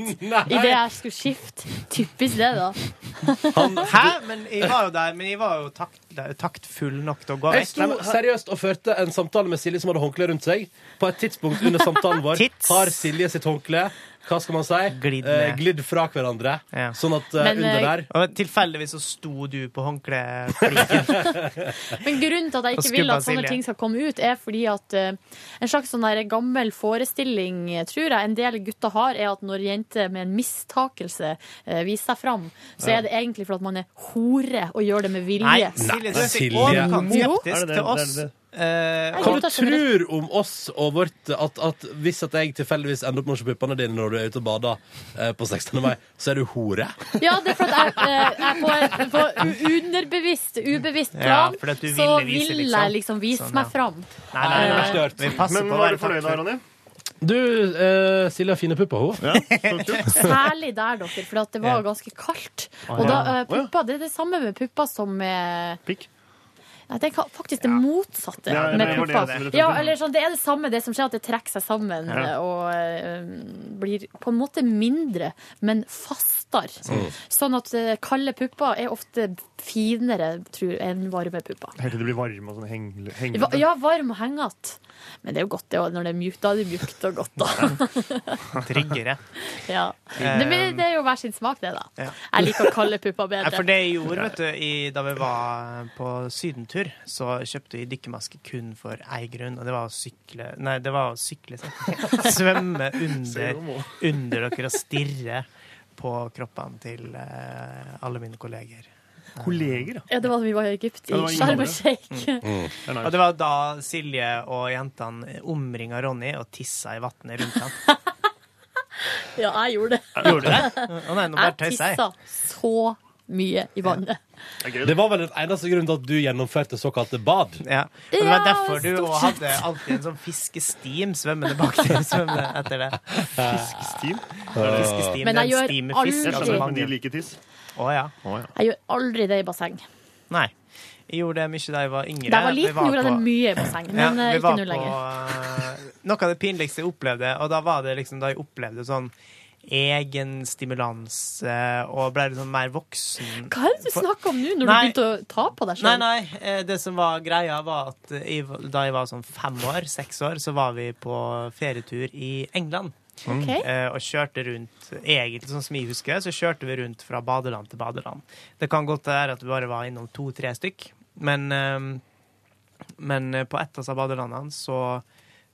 S4: mitt
S1: nei.
S4: idet jeg skulle skifte. Typisk det, da.
S2: Hæ? Men jeg var jo der, men jeg var jo takt, taktfull nok til å gå
S1: Jeg sto seriøst og førte en samtale med Silje som hadde håndkle rundt seg. På et tidspunkt under samtalen vår har Silje sitt håndkle hva skal man si? Glidd,
S2: ned.
S1: glidd fra hverandre. Sånn at eh,
S4: Men,
S1: under
S4: eh,
S1: der
S2: Og tilfeldigvis så sto du på håndklefliken.
S4: Men grunnen til at jeg
S2: Og
S4: ikke vil
S2: skubba
S4: at sånne
S2: Silje.
S4: ting skal komme ut, er fordi at eh, en slags sånn der gammel forestilling, eh, tror jeg, en del gutter har, er at når jenter med en mistakelse eh, viser seg fram, så
S2: Ja.
S4: er det egentlig fordi at man er hore og gjør det med vilje.
S2: Nei, Silje, du er så i overkant
S1: Jo.
S2: skeptisk til oss. Eh,
S1: Hva du tror om oss og vårt at, at hvis at jeg tilfeldigvis ender opp med å se puppene dine når du er ute og bader eh, på 16. mai, så er du hore?
S4: Ja, det er for at jeg, eh, jeg på, en- på u- underbevisst, ubevisst
S1: Ja,
S4: plan,
S1: fordi at du
S4: så
S1: ville vise,
S4: vil
S1: liksom.
S4: jeg liksom vise
S1: Sånn, ja.
S4: meg fram.
S2: Nei, nei,
S1: det er
S2: nei.
S1: verst jeg har hørt.
S2: Vi passer
S3: Men
S2: på å
S3: var
S2: være
S3: du fornøyd da,
S2: taktfull.
S3: Ronny?
S1: Du, eh, Silje har fine pupper, hun.
S4: Særlig der, dere, for at det var ganske kaldt.
S1: Å,
S4: Og da,
S1: ja.
S4: eh, puppa, det er det samme med puppa som med
S3: Pikk?
S4: Nei, det er ka- faktisk det motsatte
S3: Ja,
S4: med
S3: det var det
S4: puppa.
S3: jeg ville frem til.
S4: Ja, eller sånn, det er det samme, det som skjer, at det trekker seg sammen
S3: Ja.
S4: eh, og eh, blir på en måte mindre, men fastere.
S3: Mm.
S4: Sånn at eh, kalde pupper er ofte finere, tror jeg, enn varme pupper.
S3: Helt til du blir varm og sånn hengle... hengle.
S4: Va- Ja, varm og hengete. Men det er jo godt det også, når det er mjukt. Da er det mjukt og godt, da.
S2: Tryggere.
S4: Ja. Det, men det er jo hver sin smak, det, da.
S2: Ja.
S4: Jeg liker å kalle pupper
S2: Nei,
S4: bedre.
S2: for det jeg gjorde, vet du, i, da vi var eh, på sydentur, så kjøpte jeg dykkermaske kun for ei grunn, og det var å sykle Nei, det var å sykle, sånn. Svømme under, under dere og stirre på kroppene til eh, alle mine kolleger.
S3: Kolleger,
S4: Ja, det var da vi var i Egypt,
S2: Ja, det var i
S4: i Sharm
S2: Norge.
S4: el Sheikh.
S2: Og det var da Silje og jentene omringa Ronny og tissa i vannet rundt ham.
S4: Ja, jeg gjorde det.
S2: Gjorde du det? Å nei, nå bare
S4: jeg
S2: tøyser jeg.
S4: tissa så mye i vannet.
S1: Det var vel den eneste grunnen til at du gjennomførte såkalte bad.
S2: Ja. Og det var
S4: Ja,
S2: derfor du
S4: stort
S2: også
S4: sett.
S2: hadde alltid en sånn fiskestim svemmende bak deg. Svømme etter det.
S3: Fiskestim?
S2: Fiskestim
S4: Men
S2: det er
S4: jeg
S2: en
S4: gjør
S2: stim med fisk,
S4: aldri-
S2: altså
S4: Jeg skjønner
S2: mange.
S3: Men de liker tiss.
S2: Å ja.
S4: Jeg gjør aldri det i basseng.
S2: Nei. Jeg gjorde det mye da jeg var yngre.
S4: Da jeg var
S2: Vi
S4: liten, gjorde jeg det
S2: på-
S4: mye i basseng, men
S2: Ja,
S4: eh,
S2: vi
S4: ikke
S2: var
S4: nå
S2: på,
S4: lenger.
S2: eh, Noe av det pinligste jeg opplevde, og da var det liksom da jeg opplevde sånn egen stimulans eh, og ble liksom mer voksen.
S4: Hva er det du
S2: For-
S4: snakker om nå,
S2: Nei.
S4: når du begynte å ta på deg
S2: Nei,
S4: sjøl?
S2: nei. eh, Det som var greia, var at jeg, var- da jeg var sånn fem år, seks år, så var vi på ferietur i England.
S4: Ok.
S2: Eh, Og kjørte rundt Egentlig, sånn som jeg husker, så kjørte vi rundt fra badeland til badeland. Det kan godt være at vi bare var innom to-tre stykk, men, eh, men eh, på ett av disse badelandene så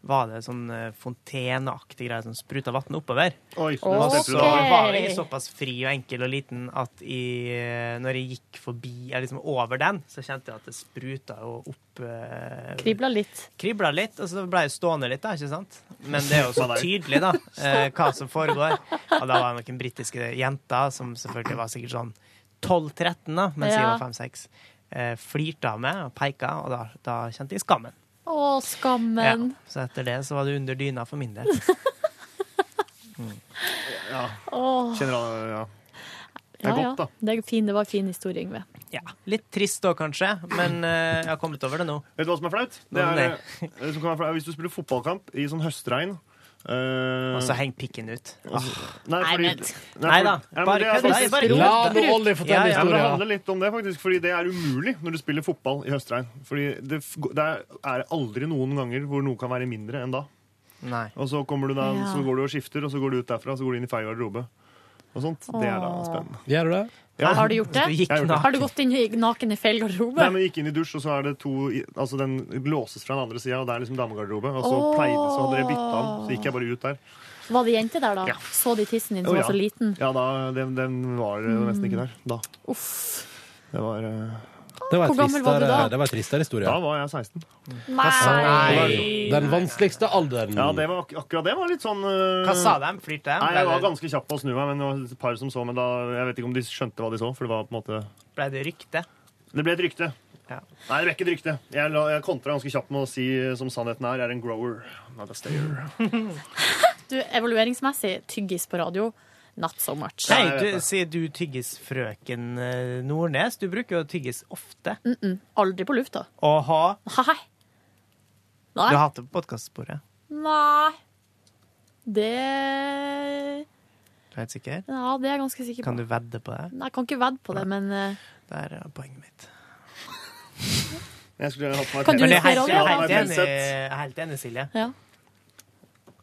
S2: var det sånn eh, fonteneaktig greie som spruta vann oppover.
S3: Oi,
S4: Åh,
S3: nå
S2: Og
S3: setter
S2: så
S3: du deg.
S4: Ok.
S2: var jeg såpass fri og enkel og liten at jeg, når jeg gikk forbi, eller liksom over den, så kjente jeg at det spruta jo opp eh,
S4: Kribla litt.
S2: Kribla litt, og så ble jeg stående litt, da, ikke sant? Men det er jo så tydelig, da, eh, hva som foregår. Og da var det noen britiske jenter som selvfølgelig var sikkert sånn 12-13, da, mens jeg
S4: Ja.
S2: var 5-6, eh, flirte av meg og peka, og da, da kjente jeg skammen.
S4: Å, skammen.
S2: Ja, så etter det så var det under dyna for min del.
S4: Åh,
S3: Kjenner han ja.
S4: ja,
S3: godt,
S4: ja.
S3: da.
S4: Det, er fin, det var en fin historie, Yngve.
S2: Ja, Litt trist da, kanskje, men eh, jeg har kommet over det nå.
S3: Vet du hva som er flaut? Det
S2: Nå,
S3: er,
S2: nei.
S3: eh, det som kan være flaut, er hvis du spiller fotballkamp i sånn høstregn. eh,
S2: Og så henger pikken ut.
S3: nei,
S4: Nei,
S3: fordi,
S4: men-
S2: Nei da,
S3: Ja, men
S2: bare kødd.
S3: det er faktisk-
S2: Nei, bare
S1: La
S2: rot.
S1: nå Olli fortelle
S2: Ja, ja,
S3: Ja, men det
S1: historien.
S3: handler litt om det, faktisk. Fordi det er umulig når du spiller fotball i høstregn. Fordi det, f- det er aldri noen ganger hvor noe kan være mindre enn da.
S2: Nei.
S3: Og så, kommer du da,
S4: Ja.
S3: så går du og skifter, og så går du ut derfra, og så går du inn i feil garderobe. Og sånt. Det er da
S4: Åh.
S3: spennende.
S1: Gjør du det?
S3: Ja.
S4: Har du gjort
S2: Du
S4: det?
S2: gikk
S3: Jeg gjorde det.
S4: Har
S2: naken.
S4: du gått inn i naken i feil
S3: Nei,
S4: garderobe?
S3: men gikk inn i dusj, og så er det to i- Altså, den låses fra den andre sida, og det er liksom damegarderobe. Og så
S4: Åh.
S3: pleide så hadde dere bytta den, så gikk jeg bare ut der.
S4: Var det jente der, da?
S3: Ja.
S4: Så de tissen din
S3: Å,
S4: som var
S3: ja.
S4: så liten?
S3: Ja, da, den, den var eh, nesten ikke der da.
S4: Uff.
S3: Det var, eh,
S1: Det var
S4: Hvor
S1: en
S4: gammel var du
S1: tristere,
S4: da?
S1: det var en tristere historie.
S3: da var jeg 16.
S4: Nei!
S1: Den vanskeligste alderen.
S3: Ja, det var, ak akkurat det var litt sånn eh,
S2: Hva sa de? Flirte de?
S3: Nei, jeg var
S2: Ble det-
S3: ganske kjapp på å snu meg, men det var et par som så, men da, jeg vet ikke om de skjønte hva de så, for det var på en måte...
S2: Ble det rykte?
S3: Det ble et rykte.
S2: Ja.
S3: Nei, det ble ikke et rykte. Jeg, la, jeg kontra ganske kjapt med å si, eh, som sannheten er, jeg er en grower, not a stayer.
S4: Du, evalueringsmessig, tyggis på radio, not so much.
S3: Nei,
S2: Nei,
S3: jeg vet
S2: du,
S3: det.
S2: sier du tyggis frøken eh, Nordnes? Du bruker jo å tygges ofte.
S4: Mm. Aldri på lufta.
S2: Og ha
S4: Hei.
S2: Du har
S4: Nei.
S2: hatt det på podkastsporet.
S4: Nei. Det
S2: Du er helt sikker?
S4: Ja, det er jeg ganske sikker på.
S2: Kan du vedde på det?
S4: Nei, jeg kan ikke vedde på det, men eh,
S2: Der er poenget mitt.
S3: Jeg skulle gjerne hatt meg
S4: Kan
S2: Men jeg er
S4: justere
S2: helt,
S4: også?
S2: jeg er helt,
S3: Ja,
S2: enig, jeg er helt enig, Silje.
S4: ja.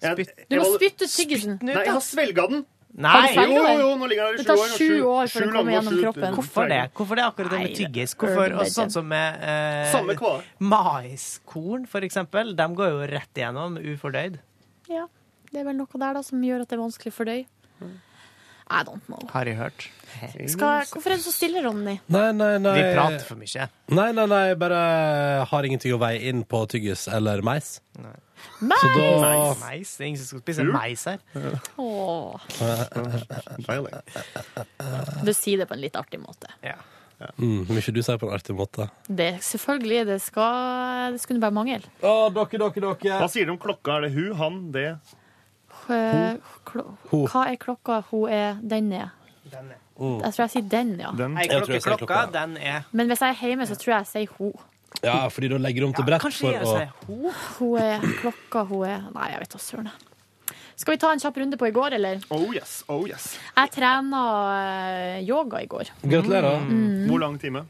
S3: Jeg,
S4: Du må
S3: jeg-
S4: spytte ut tyggisen.
S2: Nå
S3: Nei, jeg
S2: da.
S3: har svelget den.
S4: Har du
S2: Nei!
S4: svelget?
S3: Jo,
S4: den?
S3: jo, jo, nå ligger
S4: Det
S3: den
S4: tar
S3: her i sju år.
S4: sju år før den
S3: lange
S4: kommer
S3: år,
S4: gjennom
S3: sju-
S4: kroppen.
S2: Hvorfor det? Hvorfor det er akkurat det
S4: Nei,
S2: med
S4: det er
S2: tyggis? Hvorfor,
S4: urban
S2: og sånn
S4: legend.
S2: som med eh,
S3: Samme kva.
S2: Maiskorn, for eksempel, de går jo rett igjennom ufordøyd.
S4: Ja, det er vel noe der da som gjør at det er vanskelig å fordøye. I don't know.
S2: Har jeg hørt.
S4: Skal, hvorfor er du så stille, Ronny?
S1: Nei, nei, nei.
S2: Vi prater for mye.
S1: Nei, nei, nei, jeg bare har ingenting å veie inn på tyggis eller mais.
S4: Nei!
S1: Så da
S2: Mais. Det er ingen som skal spise mais her.
S4: Åh.
S3: Feil, det.
S4: Du sier det på en litt artig måte.
S2: Ja.
S1: mm, Mye du sier på en artig måte.
S4: Det, selvfølgelig, det, skal, det skulle bare mangle.
S1: Å, dere, dere, dere.
S3: Hva sier du om klokka? Er det hun, han, det?
S4: Eh, klo-
S1: Ho.
S4: Hva er klokka hun er den er?
S2: Den er.
S4: Jeg tror jeg sier den, ja.
S3: Den?
S2: Ei
S1: Jeg tror
S2: klokke,
S1: jeg sier
S2: klokka,
S1: klokka.
S2: den er
S4: Men hvis jeg er hjemme, så tror jeg jeg sier hun.
S1: Ja, fordi da legger du om
S2: ja,
S1: til brett
S2: Kanskje
S1: for
S2: jeg
S1: å
S2: sier ho?
S4: Hun er klokka, hun er Nei, jeg vet da søren. jeg. Skal vi ta en kjapp runde på i går, eller?
S3: Oh yes, oh yes.
S4: Jeg trena eh, yoga i går.
S1: Gratulerer.
S2: Mm.
S4: Mm.
S3: Hvor lang time?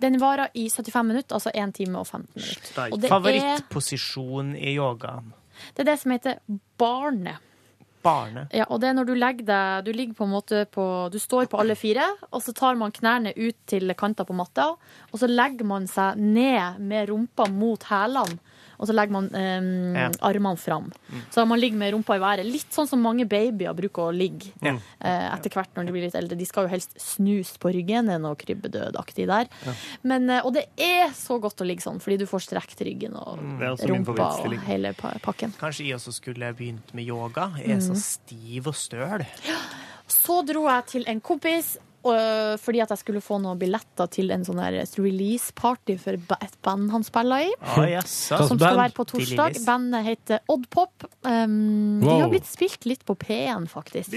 S4: Den varer i 75 minutter, altså 1 time og 15 minutter.
S3: Steik.
S4: Og det er,
S2: Favorittposisjon i yogaen.
S4: det er det som heter barnet.
S2: Barnet.
S4: Ja, og det er når du legger deg Du ligger på en måte på Du står på alle fire, og så tar man knærne ut til kanter på matta, og så legger man seg ned med rumpa mot hælene. Og så legger man
S2: Ja.
S4: eh, armene fram.
S3: Mm.
S4: Så man ligger med rumpa i været. Litt sånn som mange babyer bruker å ligge
S2: Ja.
S4: eh, etter hvert når de blir litt eldre. De skal jo helst snus på ryggen. Det er noe krybbedødaktig der. Men, eh, og det er så godt å ligge sånn, fordi du får strekt ryggen og
S3: Mm. Det er også min
S4: rumpa og
S3: favorittstilling.
S4: hele pa- pakken.
S2: Kanskje jeg også skulle
S4: Mm.
S2: begynt med yoga. Jeg er så stiv og støl.
S4: Så dro jeg til en kompis og- øh, fordi at jeg skulle få noen billetter til en sånn her release-party for ba- et band han spiller i.
S2: Ah, jaså.
S4: Som
S2: Hva
S4: skal
S2: band?
S4: være på torsdag.
S2: Dillilis.
S4: Bandet heter Odd Pop. Um, De
S2: Wow.
S4: har blitt spilt litt på P1, faktisk.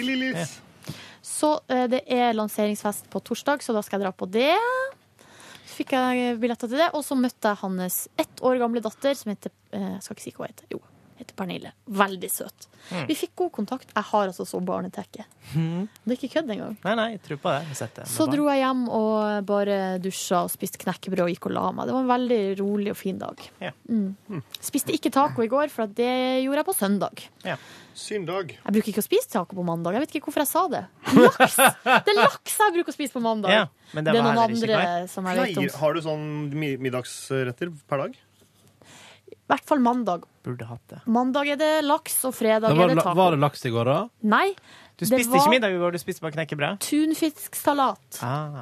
S4: Så eh, det er lanseringsfest på torsdag, så da skal jeg dra på det. Så fikk jeg øh, billetter til det, og så møtte jeg hans ett år gamle datter, som heter eh, Jeg skal ikke si hva hun heter. Jo, heter Pernille. Veldig søt.
S2: Mm.
S4: Vi fikk god kontakt. Jeg har altså så barnetekke.
S2: Hmm.
S4: Det er ikke kødd engang.
S2: Nei, nei, jeg tror på det. Jeg har sett det.
S4: Så dro jeg hjem og bare dusja og spiste knekkebrød og gikk og la meg. Det var en veldig rolig og fin dag. Mm. Spiste ikke taco i går, for at det gjorde jeg på søndag.
S3: Syndag.
S4: Jeg bruker ikke å spise taco på mandag. Jeg vet ikke hvorfor jeg sa det. Laks! Det er laks jeg bruker å spise på mandag.
S3: Ja, men det
S4: det
S3: var
S4: er noen
S3: heller ikke
S4: andre
S3: klar.
S4: som jeg vet om.
S3: Pleier- Har du sånn mi- middagsretter per dag?
S4: I hvert fall mandag.
S2: Burde hatt det.
S4: Mandag er det laks, og fredag
S1: Men var,
S4: er det
S1: det la-
S4: taco.
S1: var det laks i går, da?
S4: Nei.
S2: Du
S4: det
S2: spiste
S4: var
S2: ikke middag i går, du spiste bare knekkebrød?
S4: Tunfisksalat.
S2: Ah.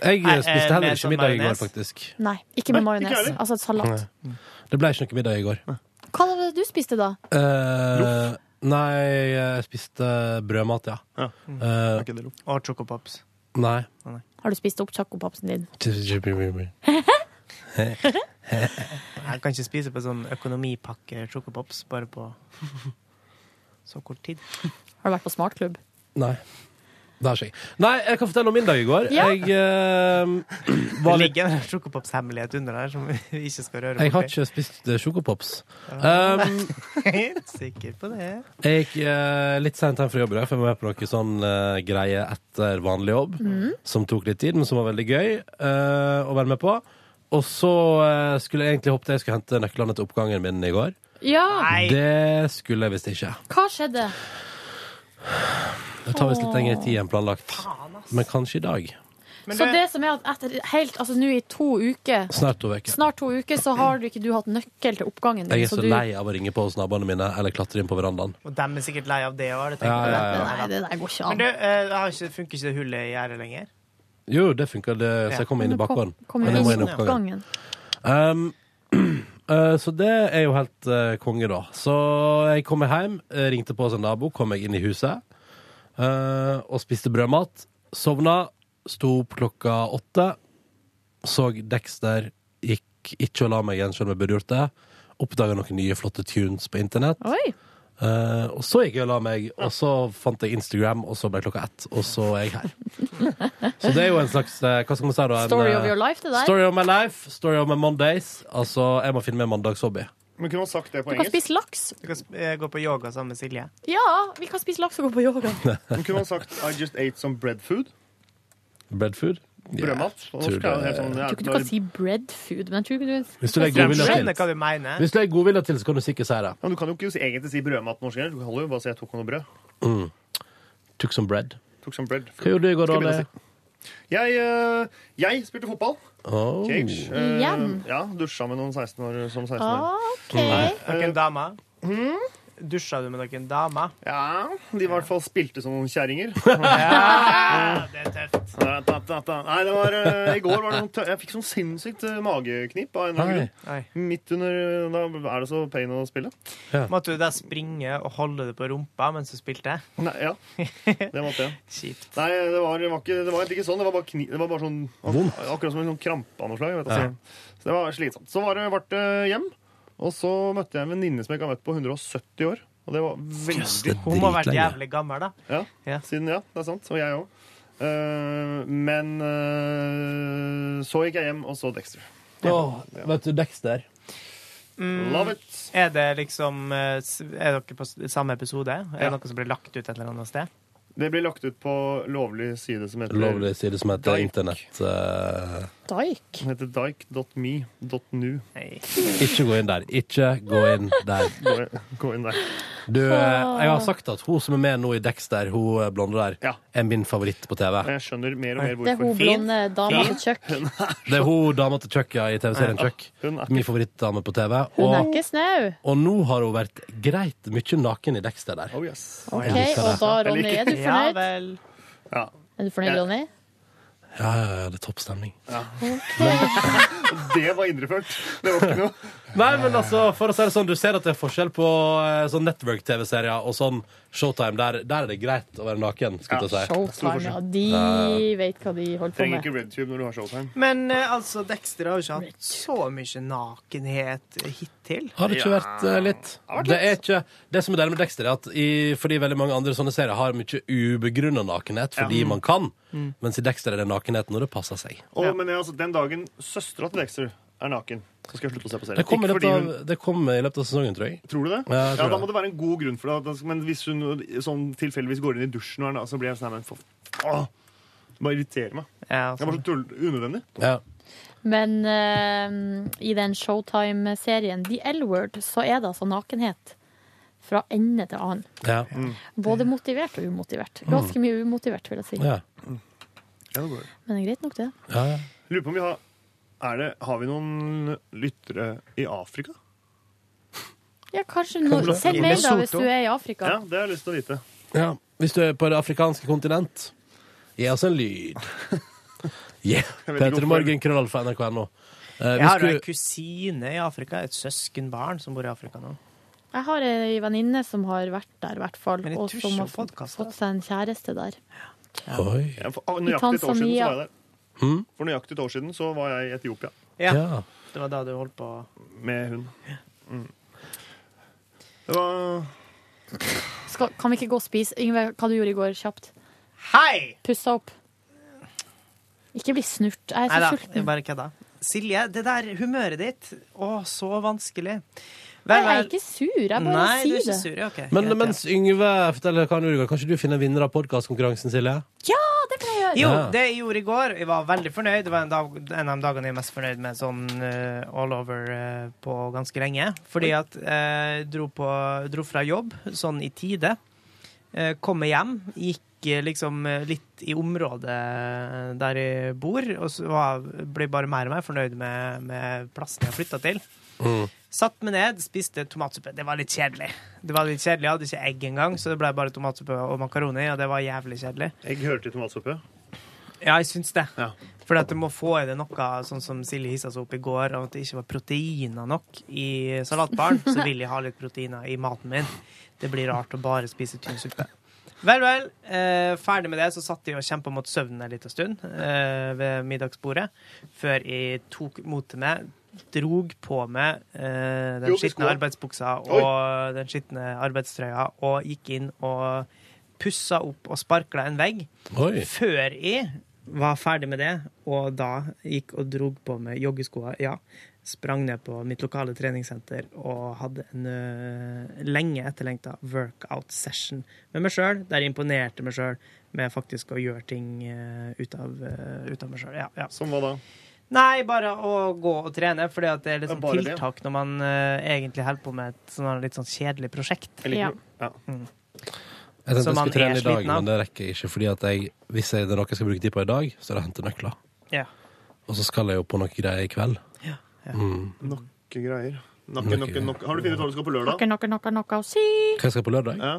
S1: Jeg
S2: Nei,
S1: eh,
S2: eh,
S1: spiste heller
S2: med
S1: ikke
S2: sånn
S1: middag i går,
S2: majones.
S1: faktisk.
S4: Nei, ikke
S1: Nei, ikke
S4: med majones.
S1: heller.
S4: Altså et salat.
S1: Nei. Det ble ikke noe middag i går.
S4: Hva var det du spiste da?
S1: Eh, nei, jeg spiste brødmat, ja. Eh,
S2: Ah. Og chocopops.
S1: nei.
S4: Har du spist opp chacopapsen din?
S2: Jeg kan ikke spise på sånn økonomipakke chocopops bare på så kort tid.
S4: Har du vært på smartklubb?
S1: Nei. Det har ikke jeg. Nei, jeg kan fortelle om min dag i går.
S2: Ja.
S1: Jeg, eh, var
S2: det
S1: litt,
S2: ligger en chocopops-hemmelighet under der som vi ikke skal røre
S1: jeg har ikke spist eh, sjokopops. Um,
S2: Helt sikker på det.
S1: jeg gikk eh, litt seint hjem fra jobb i dag, for jeg var med på noe sånn eh, greie etter vanlig jobb.
S2: Mhm.
S1: Som tok litt tid, men som var veldig gøy eh, å være med på. Og så eh, skulle jeg egentlig håpet jeg skulle hente nøklene til oppgangen min i går.
S4: Ja!
S1: Det skulle jeg visst ikke.
S4: Hva skjedde?
S1: Det tar visst litt lengre tid enn planlagt. Men kanskje i dag.
S4: Så det som er at etter helt, altså nå i to uker
S1: Snart to uker.
S4: Snart to uker så har du ikke du hatt nøkkel til oppgangen din.
S1: Jeg er så
S4: du,
S1: lei av å ringe på hos naboene mine eller klatre inn på verandaen.
S2: Og de er sikkert lei av det òg.
S1: Ja, ja, ja.
S4: Nei, det der går ikke an.
S2: Men du, eh, det har ikke, funker ikke det hullet i gjerdet lenger?
S1: Jo, det funka, det- så jeg kom inn i bakgården. Men jeg må inn i oppgangen. Um, eh, så det er jo helt eh, konge, da. Så jeg kom hjem, eh, ringte på hos en nabo, kom meg inn i huset eh, og spiste brødmat. Sovna, sto opp klokka åtte, så Dexter, gikk ikke og la meg igjen, selv om jeg burde gjort det. Oppdaga noen nye flotte tunes på internett. Eh, og så gikk jeg og la meg, og så fant jeg Instagram, og så ble klokka ett, og så er jeg her. Så det er jo en slags eh, hva skal man si da, en,
S4: Story of
S1: eh,
S4: your life, det der.
S1: Story of my life, story of my Mondays. Altså, jeg må finne meg en mandagshobby.
S3: Men kunne man sagt det på
S4: Du kan spise laks.
S2: Du kan sp- eh, gå på yoga sammen med Silje.
S4: Ja, vi kan spise laks og gå på yoga.
S3: Men kunne man sagt I just ate some bread food?
S1: Breadfood?
S3: Brødmat? På norsk
S1: tror
S3: er det helt
S1: det-
S3: sånn
S4: Jeg tror ikke du kan si bread food, men jeg tror ikke du
S1: Hvis du legger godvilja til.
S2: hva du mener.
S1: Hvis du legger godvilja til, så kan du sikkert si det.
S3: Ja, men du kan jo ikke si, egentlig si brødmat på norsk heller. Du kan jo bare si jeg tok noe brød.
S1: Mm. Took some bread.
S3: Tok some bread.
S1: Hva gjorde du i går,
S3: Skal jeg
S1: da?
S3: begynne å Jeg, eh, jeg spilte fotball.
S1: Oh.
S3: Cage. Eh,
S2: Igjen?
S3: ja, dusja med noen 16 år som
S4: Ah.
S3: 16-åring.
S2: Noen damer? Dusja du med noen damer?
S3: Ja, de i hvert fall spilte som noen kjerringer.
S2: Ja, det er tøft.
S3: Da, da, da, da. Nei, det var eh, I går var det noen tø Jeg fikk sånn sinnssykt eh, mageknip av en eller annen grunn. Midt under eh, Da er det så pain å spille.
S2: Måtte du da springe og holde det på rumpa mens du spilte?
S3: Nei, ja. Det måtte jeg. Nei, det var, det, var ikke, det var egentlig ikke sånn. Det var bare, kni, det var bare sånn Akkurat som en sånn krampe av noe slag. Vet du.
S1: Ja.
S3: Så, så det var slitsomt. Så var det, ble det hjem, og så møtte jeg en venninne som jeg ikke har møtt på 170 år. Og det var veldig
S2: Jøss, det er Hun må ha vært dritlenge. jævlig gammel, da.
S3: Ja, Siden, ja det er sant. Og jeg òg. men eh, så gikk jeg hjem og så Dexter.
S1: Åh, vet du, Dexter.
S2: Mm.
S3: Love it.
S2: Er det liksom eh, s- Er dere på s- samme episode? Er
S3: Ja.
S2: det noe som blir lagt ut et eller annet sted?
S3: Det blir lagt ut på lovlig side som heter
S1: Lovlig side som heter
S3: Dike.
S1: Internett. eh,
S4: Dike?
S3: Den heter dike.me.nu.
S1: ikke gå inn der. Ikke gå inn der.
S3: Gå inn, gå inn der.
S1: Du, eh, jeg har sagt at hun som er med nå i Dexter, hun eh, blonde der, er min favoritt på TV.
S3: Jeg skjønner mer og mer
S4: Det er hun blonde dama eh, på kjøkk.
S1: Det er hun dama til Chuck ja, i TV-serien
S3: Ja.
S1: Chuck. Min favorittdame på TV.
S4: Hun er
S1: Og,
S4: ikke snau.
S1: og nå har hun vært greit mye naken i Dexter der.
S3: Oh, yes.
S4: Ok, og da, Ronny, er du
S2: Ja
S4: fornøyd?
S2: vel.
S4: Er du fornøyd, Ronny?
S1: Ja, ja, ja, det er topp stemning.
S3: Det var indreført. Det var ikke noe
S1: Nei, men altså, for å si det sånn, du ser at det er forskjell på eh, sånn network-TV-serier og sånn Showtime. Der, der er det greit å være naken, skulle jeg til å si.
S4: Showtime, ja. De vet hva de holder på med.
S3: RedTube når du har showtime.
S2: Men eh, altså, Dexter har jo ikke hatt så mye nakenhet hittil.
S1: Har det ikke vært eh, litt? Det, er ikke, det som er deilig med Dexter, er at i, fordi veldig mange andre sånne serier har mye ubegrunna nakenhet fordi
S3: Ja.
S1: man kan,
S3: Mm.
S1: mens i Dexter er det nakenhet når det passer seg.
S3: Og, Men det er altså, den dagen søstera til Dexter er naken, så skal jeg slutte å se på serien.
S1: Det kom, i
S3: Ikke
S1: løpet
S3: fordi
S1: av,
S3: hun-
S1: det kom i løpet av sesongen, tror jeg.
S3: Tror du det?
S1: Ja, jeg tror
S3: da
S1: det.
S3: må det være en god grunn for det. at- Men hvis hun sånn tilfeldigvis går inn i dusjen, og er na- så blir jeg sånn her, men for... Åh, det bare irriterer meg. Det er bare så tull, unødvendig.
S4: Men eh, i den Showtime-serien The L-Word, så er det altså nakenhet fra ende til annen.
S1: Ja.
S3: Mm.
S4: Både motivert og umotivert. Ganske mye umotivert, vil jeg si.
S1: Ja.
S3: Ja, det går.
S4: Men det er greit nok, det.
S3: Lurer på om vi har er det, Har vi noen lyttere i Afrika?
S4: Ja, kanskje
S1: Kanskje.
S4: noe. Send mail da
S1: Lesotho.
S4: hvis du er i Afrika.
S3: Ja, det har jeg lyst til å vite.
S1: Ja. Hvis du er på det afrikanske kontinent, gi oss en lyd. Yeah.
S2: Jeg vet ikke
S1: Peter
S2: hvorfor.
S1: Morgen, krøll for nrk.no. Eh, vi
S2: Jeg har jo
S1: skulle-
S2: en kusine i Afrika, et søskenbarn som bor i Afrika nå.
S4: Jeg har ei venninne som har vært der, i hvert fall.
S2: Men jeg
S4: Og
S2: tror
S4: som
S2: ikke
S4: har
S2: hun
S4: fått, fått seg en kjæreste der.
S1: Oi.
S3: Ja, for, Hmm? ah,
S4: I
S3: nøyaktig et år siden så
S4: Tanzania.
S3: var jeg der. For nøyaktig et år siden så var jeg i Etiopia.
S2: Ja. Det var da du holdt på
S3: Med hund. Mm. Det var
S4: Skal, kan vi ikke gå og spise? Yngve, hva du gjorde i går, kjapt?
S2: Hei!
S4: Pussa opp. Ikke bli snurt. Jeg
S2: Nei
S4: er
S2: da,
S4: så
S2: jeg
S4: sulten.
S2: bare kødda. Silje, det der humøret ditt Å, så vanskelig.
S4: Nei, jeg er ikke sur. Jeg bare
S2: Nei, du
S4: sier
S2: er
S4: det.
S2: ikke sur. ja, ok.
S1: Men
S2: Greit, ja.
S1: mens Yngve forteller hva han gjorde i går, kan ikke du finne en vinner av podkastkonkurransen, Silje?
S4: Ja, det kan jeg gjøre.
S2: Jo,
S1: Ja.
S2: det jeg gjorde i går, jeg var veldig fornøyd. Det var en, dag, en av de dagene jeg er mest fornøyd med sånn eh, all over eh, på ganske lenge. Fordi at eh, jeg dro, på, dro fra jobb sånn i tide. Uh, kom meg hjem, gikk eh, liksom eh, litt i området eh, der jeg bor, og så var, ble jeg bare mer og mer fornøyd med, med plassen jeg flytta til. Satt meg ned, spiste tomatsuppe. Det var litt kjedelig. Det var litt kjedelig, Jeg hadde ikke egg engang, så det ble bare tomatsuppe og makaroni, og det var jævlig kjedelig.
S3: Egg hører til tomatsuppe.
S2: Ja, jeg syns det. For at du må få i det noe, sånn som Silje hissa seg opp i går, om at det ikke var proteiner nok i salatbaren, så vil jeg ha litt proteiner i maten min. Det blir rart å bare spise tynn suppe. Vel, vel. Eh, ferdig med det, så satt jeg og kjempa mot søvnen en liten stund eh, ved middagsbordet, før jeg tok mot til meg, drog på meg eh, den
S11: Jo, vi
S2: skitne
S11: skulle.
S2: arbeidsbuksa
S11: Oi.
S2: og den skitne arbeidstrøya, og gikk inn og pussa opp og sparkla en vegg.
S1: Oi.
S2: Før jeg var ferdig med det, og da gikk og drog på med joggeskoa, ja, sprang ned på mitt lokale treningssenter og hadde en ø, lenge etterlengta workout session med meg sjøl, der jeg imponerte meg sjøl med faktisk å gjøre ting ø, ut, av, ø, ut av meg sjøl. Ja, ja.
S3: Som hva da?
S2: Nei, bare å gå og trene, for det er litt sånn
S3: Bare det, ja.
S2: tiltak når man ø, egentlig holder på med et sånn, litt sånn kjedelig prosjekt.
S3: Jeg liker det. Ja.
S2: Mm.
S1: Jeg tenkte
S2: Så
S1: jeg skulle
S2: man er
S1: trene i dag,
S2: sliten av.
S1: men det rekker jeg ikke. fordi at jeg, Hvis jeg, det er noe jeg skal bruke tid på i dag, så er det å hente nøkler.
S2: Ja.
S1: Og så skal jeg jo på noe greier i kveld. Mm.
S3: Nokke greier. Nokke, nokke, nokke. Har du funnet ut hva du skal på lørdag?
S4: Noe, noe, noe, noe å si.
S1: Hva jeg skal på lørdag?
S3: Ja.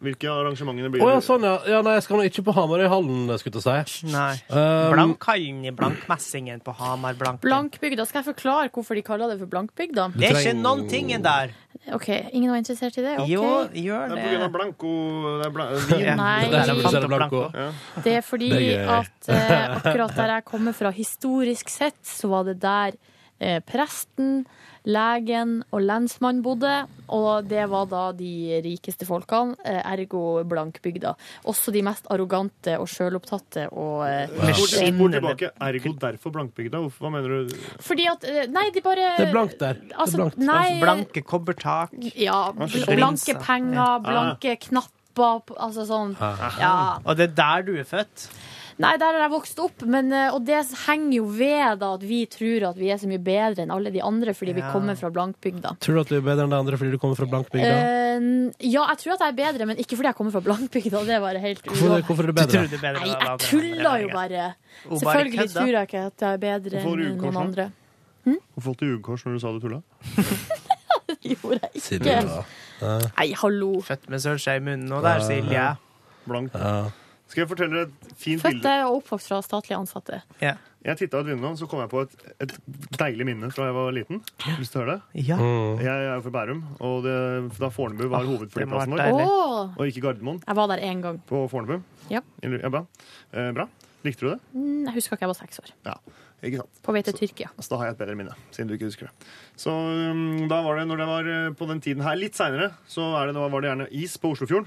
S3: Hvilke arrangementene
S1: Å
S3: blir det?
S1: ja, sånn, ja. ja. Nei, jeg skal nå ikke på Hamarøyhallen, skulle jeg til å si.
S2: Nei.
S1: Um,
S2: Blank hallen i Blankmessingen på Hamar Blank.
S4: Blankbygda. Skal jeg forklare hvorfor de kaller det for blankbygda?
S2: Det er ikke noen ting der.
S4: OK, ingen var interessert i det? Ok.
S2: gjør
S3: Det er på grunn av blanco det er bla,
S4: Ja, nei. Det er derfor du ser det blanco.
S3: Ja.
S4: Det er fordi
S3: Det er gøy.
S4: at eh, akkurat der jeg kommer fra, historisk sett, så var det der eh, presten, legen og lensmannen bodde. Og det var da de rikeste folkene, eh, ergo blankbygda. Også de mest arrogante og sjølopptatte og eh,
S3: Bort,
S4: skinnende.
S3: bort tilbake. Ergo derfor blankbygda. Hvorfor- Hva mener du?
S4: Fordi at eh, Nei, de bare
S2: Eh,
S3: der.
S4: Altså, blankt. nei-
S2: Blanke kobbertak.
S4: Ja,
S2: Blinsa.
S4: bl blanke penger, blanke knapper, p- altså sånn. Ja.
S2: Og det er der du er født?
S4: Nei, der har jeg vokst opp, men, eh, og det henger jo ved da at vi tror at vi er så mye bedre enn alle de andre fordi vi
S1: Ja.
S4: kommer fra blankbygda.
S1: Tror du at du er bedre enn de andre fordi du kommer fra blankbygda?
S4: Eh, ja, jeg tror at jeg er bedre, men ikke fordi jeg kommer fra blankbygda. Det var helt
S1: Hvorfor,
S4: ulovlig.
S1: hvorfor er du bedre?
S2: Du er bedre
S4: Nei,
S2: enn alle
S4: jeg
S2: andre.
S4: tuller jo bare.
S3: Hun bare
S4: Selvfølgelig
S3: kødda.
S4: tror jeg ikke at jeg er bedre
S3: Hvorfor
S4: enn
S3: rugekors,
S4: noen
S3: da?
S4: andre.
S3: Hvorfor holdt du jugekors når du sa du tulla?
S1: Sier du
S4: Ikke.
S1: da? Ja.
S4: Nei, hallo.
S2: Født med sølvskje i munnen og der, Silje.
S3: Blank. Skal jeg fortelle deg et fint
S4: Født
S3: bilde?
S4: er jeg oppvokst fra statlige ansatte.
S2: Ja.
S3: Jeg titta ut vinduet, så kom jeg på et, et deilig minne fra jeg var liten. Har du Lyst til å høre det?
S2: Ja.
S3: Jeg, jeg er fra Bærum, og det, da Fornebu Ah, var hovedflyplassen
S4: må
S3: vår,
S4: være deilig. Åh.
S3: og ikke Gardermoen,
S4: Jeg var der én gang.
S3: på Fornebu
S4: Ja.
S3: Eller- Ja, bra. Eh, bra. Likte du det?
S4: Mm, Jeg husker ikke, jeg var seks år.
S3: Ja. Ikke sant?
S4: På vei til Tyrkia.
S3: Så Altså, da har jeg et bedre minne, siden du ikke husker det. Så um, da var det, når det var eh, på den tiden her, litt seinere, så er det, da var det gjerne is på Oslofjorden.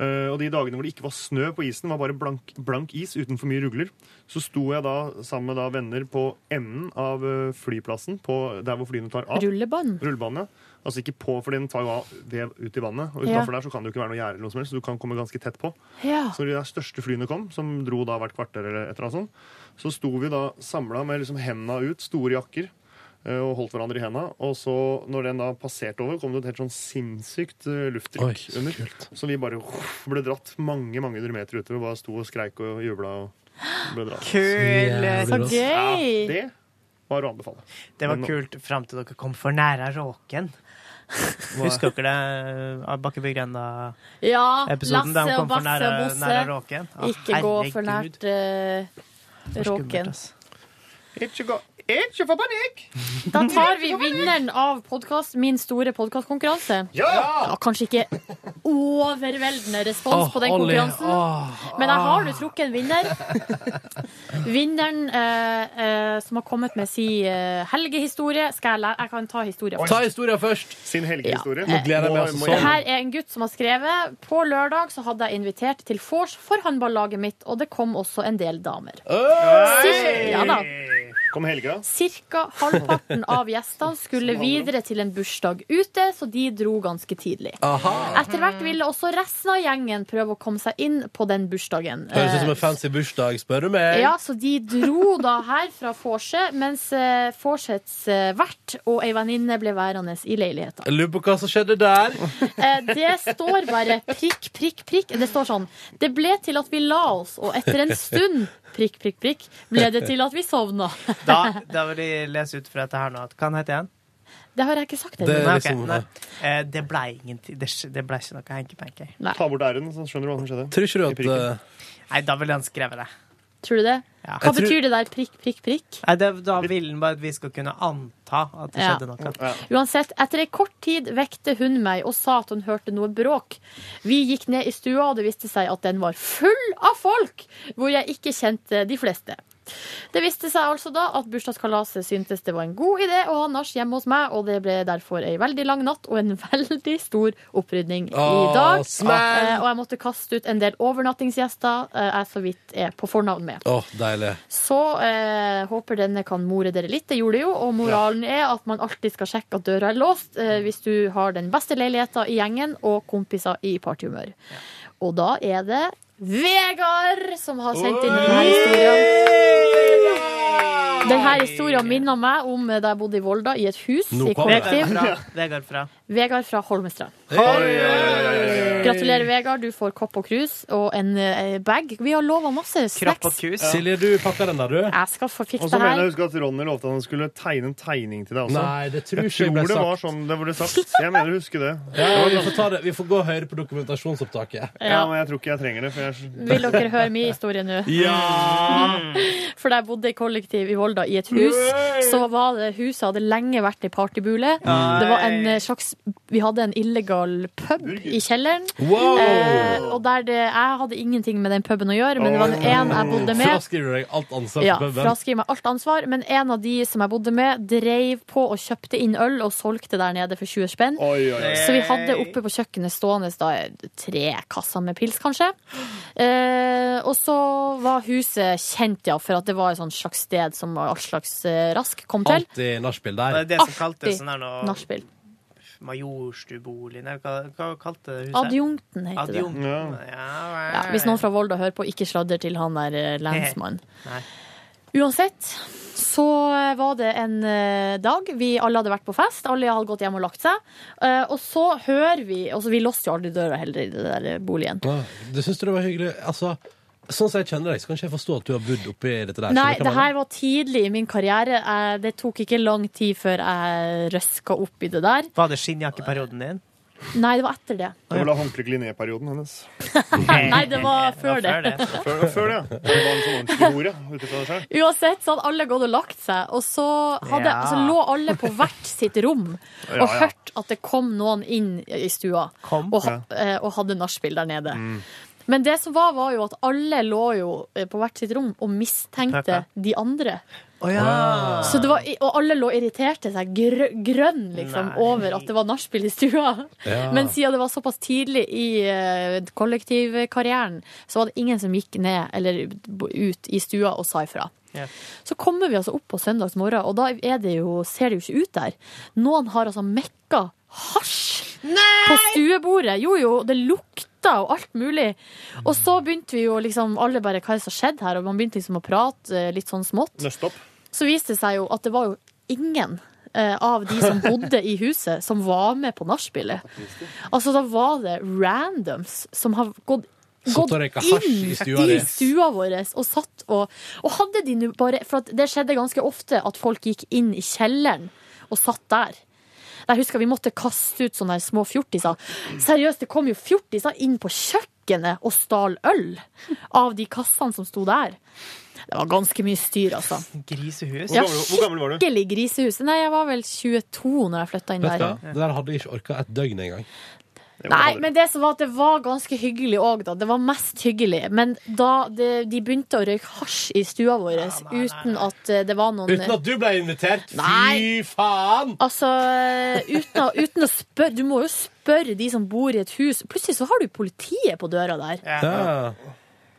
S3: Eh, og de dagene hvor det ikke var snø på isen, var bare blank, blank is uten for mye rugler, så sto jeg da sammen med da venner på enden av eh, flyplassen, på der hvor flyene tar av.
S4: Rullebånd.
S3: Rullebane. Altså ikke på, for den tar jo av vev ut i vannet. Og
S4: Ja.
S3: utenfor der så kan det jo ikke være noe gjerde, eller noe som helst, så du kan komme ganske tett på.
S4: Ja.
S3: Så når de der største flyene kom, som dro da hvert kvarter, eller et eller annet sånt, så sto vi da samla med liksom henda ut, store jakker, eh, og holdt hverandre i henda. Og så, når den da passerte over, kom det et helt sånn sinnssykt eh, lufttrykk under. Så vi bare uff, ble dratt mange mange hundre meter utover, bare sto og skreik og jubla og ble dratt.
S1: eh,
S2: Kult! Så gøy!
S3: Ja, det var å anbefale.
S2: Det var
S3: Men-
S2: kult fram til dere kom for nære råken. Husker dere det? eh,
S4: Ja,
S2: Bakkebygrenda-episoden?
S4: Lasse og Basse og Bosse.
S2: råken. Å,
S4: Ikke gå for
S2: herregud.
S4: nært eh, råken.
S3: Ikke gå Ikke få panikk!
S4: Da tar vi vinneren av podcast, min store podkastkonkurranse.
S3: Ja!
S4: kanskje ikke overveldende respons
S2: Åh,
S4: på den
S2: Olli.
S4: konkurransen,
S2: Åh,
S4: men jeg
S2: ah.
S4: har nå trukket en vinner. Vinneren eh, eh, som har kommet med si eh, helgehistorie Skal jeg lære? Jeg kan ta historien
S1: Ta historien først.
S3: Sin helgehistorie.
S1: Nå gleder jeg meg altså
S4: Må- Det her
S1: sånn.
S4: er en gutt som har skrevet På lørdag så hadde jeg invitert til vors for håndballaget mitt, og det kom også en del damer. Cir- Ja da.
S3: Kom helga.
S4: Cirka halvparten av gjestene skulle videre til en bursdag ute, så de dro ganske tidlig. Etter hvert ville også resten av gjengen prøve å komme seg inn på den bursdagen.
S1: Høres ut som en fancy bursdag, spør du meg.
S4: Ja, så de dro da her fra vorset, mens eh, vorsets eh, vert og ei venninne ble værende i leiligheta.
S1: Jeg lurer på hva som skjedde der.
S4: Eh, Det står bare prikk, prikk, prikk. Det står sånn Det ble til at vi la oss, og etter en stund prikk, prikk, prikk ble det til at vi sovna.
S2: Da, da vil de lese ut fra dette her nå. at- Hva heter han?
S4: Det har jeg ikke sagt
S2: Det,
S4: ennå.
S2: nei,
S1: liksom-
S2: ok, nei. Eh, det ble ingenting. Det, sk- det ble ikke noe hanky-panky.
S3: Ta bort r-en, så skjønner du hva som skjedde.
S1: Tror ikke du at
S3: prikken.
S1: eh,
S2: Nei, da ville han skrevet det.
S4: Tror du det?
S2: Ja.
S4: Hva
S1: Jeg tror-
S4: betyr det der prikk, prikk, prikk?
S2: Nei, det, da vil han bare at vi skal kunne anta at det
S4: Ja.
S2: skjedde noe.
S4: Uansett, etter ei kort tid vekte hun meg og sa at hun hørte noe bråk. Vi gikk ned i stua, og det viste seg at den var full av folk, hvor jeg ikke kjente de fleste. Det viste seg altså da at bursdagskalaset syntes det var en god idé å ha nach hjemme hos meg, og det ble derfor ei veldig lang natt og en veldig stor opprydning i
S1: Åh,
S4: dag.
S1: smell!
S4: Eh, Og jeg måtte kaste ut en del overnattingsgjester eh, jeg så vidt er på fornavn med.
S1: Å, deilig.
S4: Så eh, håper denne kan more dere litt. Det gjorde det jo. Og moralen er at man alltid skal sjekke at døra er låst eh, hvis du har den beste leiligheta i gjengen og kompiser i partyhumør. Og da er det Vegard som har sendt inn denne historien. Denne historien minner meg om eh, da jeg bodde i Volda, i et hus
S1: Nå
S4: i
S1: kommer det.
S4: kollektiv.
S2: Fra, Vegard fra.
S4: Vegard fra Holmestrand.
S1: Hey!
S4: Gratulerer, Vegard. Du får kopp og krus og en eh, bag. Vi har lova masse
S2: Kropp og
S4: snacks.
S2: kus.
S1: Silje, du pakker den der, du?
S4: Jeg skal få
S3: Og
S4: fikse
S3: så
S4: det
S3: mener
S4: her.
S3: jeg husker at Ronny lovte at han skulle tegne en tegning til deg også.
S1: Nei, det tror
S3: Jeg
S1: ikke jeg
S3: tror
S1: ble
S3: det var
S1: sagt.
S3: sånn det ble sagt. Jeg mener å huske det.
S1: Ja, vi, får ta det. vi får gå høyere på dokumentasjonsopptaket.
S3: Ja, men jeg tror ikke jeg trenger det. For jeg...
S4: Vil dere høre min historie nå? For da jeg bodde i kollektiv i Volda, i et hus, så var det huset hadde lenge vært ei partybule. Det var en eh, slags Vi hadde en illegal pub i kjelleren.
S1: Wow!
S4: Eh, og der det, jeg hadde ingenting med den puben å gjøre, men det var én jeg bodde med.
S1: Fraskriver du deg alt ansvar
S4: Ja,
S1: for puben?
S4: Fraskriver meg alt ansvar, men en av de som jeg bodde med, dreiv på og kjøpte inn øl og solgte der nede for 20 spenn.
S3: Oi, oi, oi.
S4: Så vi hadde oppe på kjøkkenet stående da, tre kasser med pils, kanskje. Eh, og så var huset kjent, ja, for at det var et sånt slags sted som all slags eh, rask kom til.
S1: Alltid nachspiel
S2: Det
S1: der.
S2: er det som kalte sånn her nå
S4: Nachspiel.
S2: Majorstueboligen, eller hva, hva kalte det huset?
S4: Adjunkten heter det.
S2: Adjunkt. Ja,
S4: Ja, hvis noen fra Volda hører på, ikke sladder til han der eh, lensmannen.
S2: Nei.
S4: Uansett så eh, var det en eh, dag vi alle hadde vært på fest. Alle hadde gått hjem og lagt seg. Eh, og så hører vi altså Vi låste jo aldri døra heller i den der eh, boligen.
S1: Ja, Du syns det var hyggelig? Altså, sånn som jeg kjenner deg, så kan ikke jeg forstå at du har bodd oppi dette der.
S4: Nei,
S1: Skjønner du hva
S4: det
S1: jeg
S4: her var tidlig i min karriere. Eh, Det tok ikke lang tid før jeg røska opp i det der.
S2: Var det skinnjakkeperioden din?
S4: Nei, det var etter det.
S11: Det var vel da håndkle-gliné-perioden hennes.
S4: Nei, det var før det.
S11: Før, før det, ja. Hun var en sånn ordentlig hore. ut ifra det selv.
S4: Uansett så hadde alle gått og lagt seg, og så, hadde,
S11: Ja.
S4: så lå alle på hvert sitt rom og
S11: Ja, ja.
S4: hørt at det kom noen inn i stua og, ha- eh, og hadde nachspiel der nede. Men det som var, var jo at alle lå jo eh, på hvert sitt rom og mistenkte
S2: Takk,
S4: de andre.
S2: Å ja.
S4: Så det var, og alle lå irriterte seg grø, grønn liksom, over at det var nachspiel i stua.
S12: Ja.
S4: Men siden det var såpass tidlig i eh, kollektivkarrieren, så var det ingen som gikk ned eller b- ut i stua og sa ifra. Så kommer vi altså opp på søndagsmorgen, og da er det jo, ser det jo ikke ut der. Noen har altså mekka hasj på stuebordet. Jo, jo, det lukta og alt mulig. Og så begynte vi jo liksom alle bare hva er det som skjedde her, og man begynte liksom å prate eh, litt sånn smått.
S11: Nøste opp.
S4: Så viste det seg jo at det var jo ingen eh, av de som bodde i huset, som var med på nachspielet. Altså, da var det randoms som har gått
S13: Satt
S4: Gått
S13: og røyka hasj
S4: inn
S13: i stua
S4: i
S13: di.
S4: stua vår og satt og Og hadde de nå bare For at det skjedde ganske ofte at folk gikk inn i kjelleren og satt der. Jeg husker vi måtte kaste ut sånne her små fjortiser. Seriøst, det kom jo fjortiser inn på kjøkkenet og stal øl av de kassene som sto der. Det var ganske mye styr, altså.
S2: Grisehus.
S4: Ja, Skikkelig grisehus. Nei, jeg var vel 22 når jeg flytta inn
S1: Vet du
S4: der.
S1: hva? Det der hadde jeg ikke orka et døgn engang.
S4: Nei, men det som var at det var ganske hyggelig òg, da. Det var mest hyggelig. Men da det, de begynte å røyke hasj i stua vår uten at eh, det var noen
S13: Uten at du ble invitert?
S4: Nei.
S13: Fy faen!
S4: Altså, eh, uten, å- uten å spørre Du må jo spørre de som bor i et hus. Plutselig så har du politiet på døra der.
S1: Ja.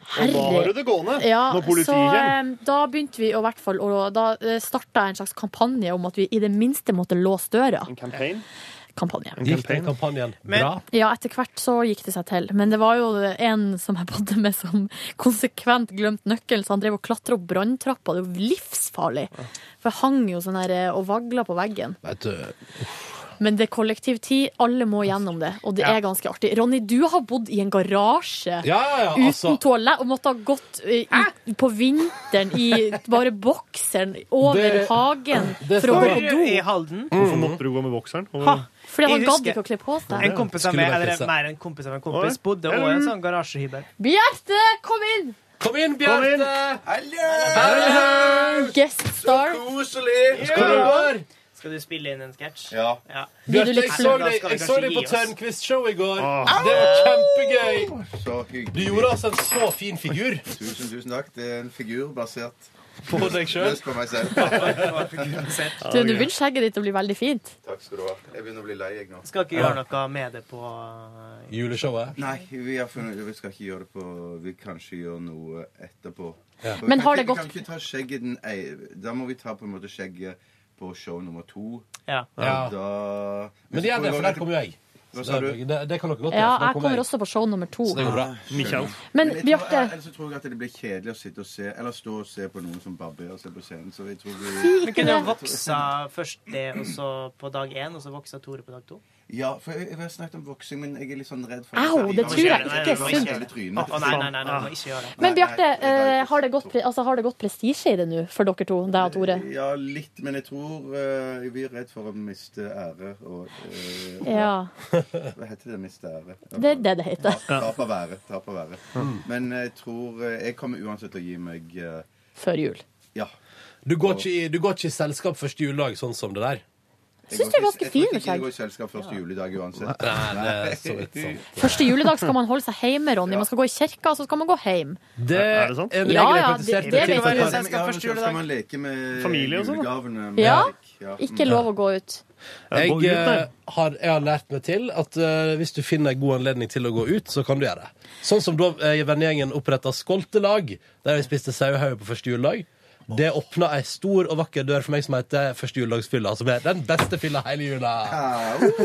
S11: Og da har du det gående
S4: Ja,
S11: når politiet
S4: så
S11: kommer.
S4: eh, da begynte vi i hvert fall å- Da starta jeg en slags kampanje om at vi i det minste måtte låse døra. En
S11: campaign?
S4: Kampanje.
S1: Gikk den kampanjen bra?
S4: Ja, etter hvert så gikk det seg til. Men det var jo en som jeg bodde med som konsekvent glemte nøkkelen, så han drev og klatra opp branntrappa. Det er jo livsfarlig. For hang jo sånn her eh, og vagla på veggen.
S1: Vet du
S4: Men det er kollektivtid, alle må gjennom det, og det
S1: Ja.
S4: er ganske artig. Ronny, du har bodd i en garasje
S13: Ja, ja, ja,
S4: uten
S13: altså.
S4: toalett og måtte ha gått eh, i, på vinteren i bare bokseren over
S11: Det-
S4: hagen
S11: det
S4: for å gå
S11: stemmer.
S4: på do.
S2: I Halden.
S11: Hvorfor måtte du gå med bokseren?
S2: Ha!
S4: Fordi han
S2: Jeg
S4: gadd
S2: husker-
S4: ikke å kle på seg.
S2: En kompis av meg, eller mer en kompis av en kompis,
S11: Oi. Mm.
S2: bodde også i en sånn garasjehybel.
S4: Bjarte, kom inn!
S1: Kom inn,
S4: Guest star.
S11: Koselig!
S2: Skal du spille inn en sketsj?
S11: Ja.
S1: Bjarte, jeg
S4: liksom-
S1: så
S2: Nei, men da
S1: deg,
S2: skal vi
S1: jeg så
S2: kanskje
S1: deg på
S2: gi oss.
S1: Tørnquist-show i går.
S14: Åh.
S1: Det var kjempegøy!
S14: Så hyggelig.
S1: Du gjorde altså en så fin figur.
S14: Tusen, tusen takk. Det er en figur basert
S1: På deg selv?
S14: Mest på meg selv.
S4: Du, nå begynner skjegget ditt å bli veldig fint.
S14: Takk skal du ha. Jeg begynner å bli lei, jeg nå.
S2: Skal ikke gjøre noe med det på
S1: Juleshowet?
S14: Nei, vi, har funnet, vi skal ikke gjøre det på Vi kanskje gjør noe etterpå. For vi
S4: Men
S14: kan
S4: har
S14: ikke-
S4: det gått-
S14: Vi kan ikke ta skjegget den ei- Da må vi ta på en måte skjegget på show nummer to.
S2: Ja.
S14: Og
S1: Ja.
S14: Da,
S1: Men det er det, for der kommer jo jeg.
S14: Hva
S1: Så
S14: sa
S1: det,
S14: du?
S1: det, det kan dere godt
S4: Ja,
S1: gjøre, for der
S4: jeg kommer også på show nummer to.
S1: Så det går bra.
S14: Skjønner.
S4: Men
S14: jeg tror-
S4: Bjarte
S14: Ellers så tror jeg at det blir kjedelig å sitte og se Eller stå og se på noen som barberer seg på scenen. Så jeg tror vi
S2: Vi kunne jo voksa først det, og så på dag én, og så voksa Tore på dag to.
S14: Ja, for jeg, jeg har snakket om voksing, men jeg er litt sånn redd for
S4: Au, det tror jeg ikke er sunt.
S14: sunt.
S2: Å, nei, nei, nei, nei, du må ikke gjøre det.
S4: Men Bjarte, eh, har det gått, pre- altså, har det gått prestisje i det nå for dere to? Deg og Tore?
S14: Ja, litt, men jeg tror eh, vi er redd for å miste ære og eh,
S4: Ja.
S14: Hva heter det? Miste ære?
S4: Det er det det heter.
S14: Tap- Tap av ære. Tap av ære.
S4: Mm.
S14: Men jeg tror eh, Jeg kommer uansett til å gi meg eh,
S4: Før jul.
S14: Ja.
S1: Du går, ikke, i- du går ikke i selskap første juledag sånn som det der?
S4: Syns
S14: Jeg går
S4: du er
S14: ikke-
S4: ganske fin med
S14: Jeg tror ikke jeg
S4: skjegg?
S14: går i selskap første juledag uansett.
S1: Nei, det er så vidt sant.
S4: Første juledag skal man holde seg hjemme, Ronny. Man skal gå i kirka, og så skal man gå hjem.
S1: Det er en regel jeg
S4: Ja, ja,
S1: praktiserte
S4: det- sånn-
S1: til-
S4: det vet jeg.
S14: Ja, men
S4: første
S14: skal-
S4: juledag.
S14: Skal man leke med
S4: Familie og sånn, da?
S14: julegavene? med
S4: Ja.
S14: musikk? Ja.
S4: Ikke
S14: Mm.
S4: lov å gå ut.
S1: Jeg,
S14: gå ut, da.
S1: eh, har, jeg har lært meg til at eh, hvis du finner en god anledning til å gå ut, så kan du gjøre det. Sånn som da eh, vennegjengen oppretta skoltelag, der vi spiste sauehauge på første juledag. Det åpna ei stor og vakker dør for meg som heter første juledagsfylla. Som er den beste fylla hele jula.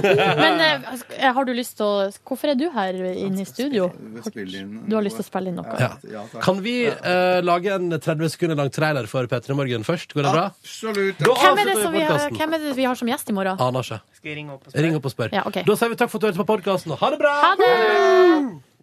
S4: Men eh, sk- eh, har du lyst til å Hvorfor er du her inne i studio? Du har lyst til å spille inn noe?
S1: Ja. Kan vi eh, lage en 30 sekunder lang trailer for P3 Morgen først? Går det bra?
S14: Absolutt.
S1: Da
S4: Hvem er, det
S1: avslutter
S4: som
S1: vi
S4: Altså, vi har,
S1: podcasten.
S4: hvem er det vi har som gjest i morgen?
S1: Aner ikke.
S2: Skal jeg ringe opp og
S1: Ring opp og spør.
S4: Ja, ok.
S1: Da sier vi takk for at du hørte på podkasten, og ha det bra!
S4: Ha det!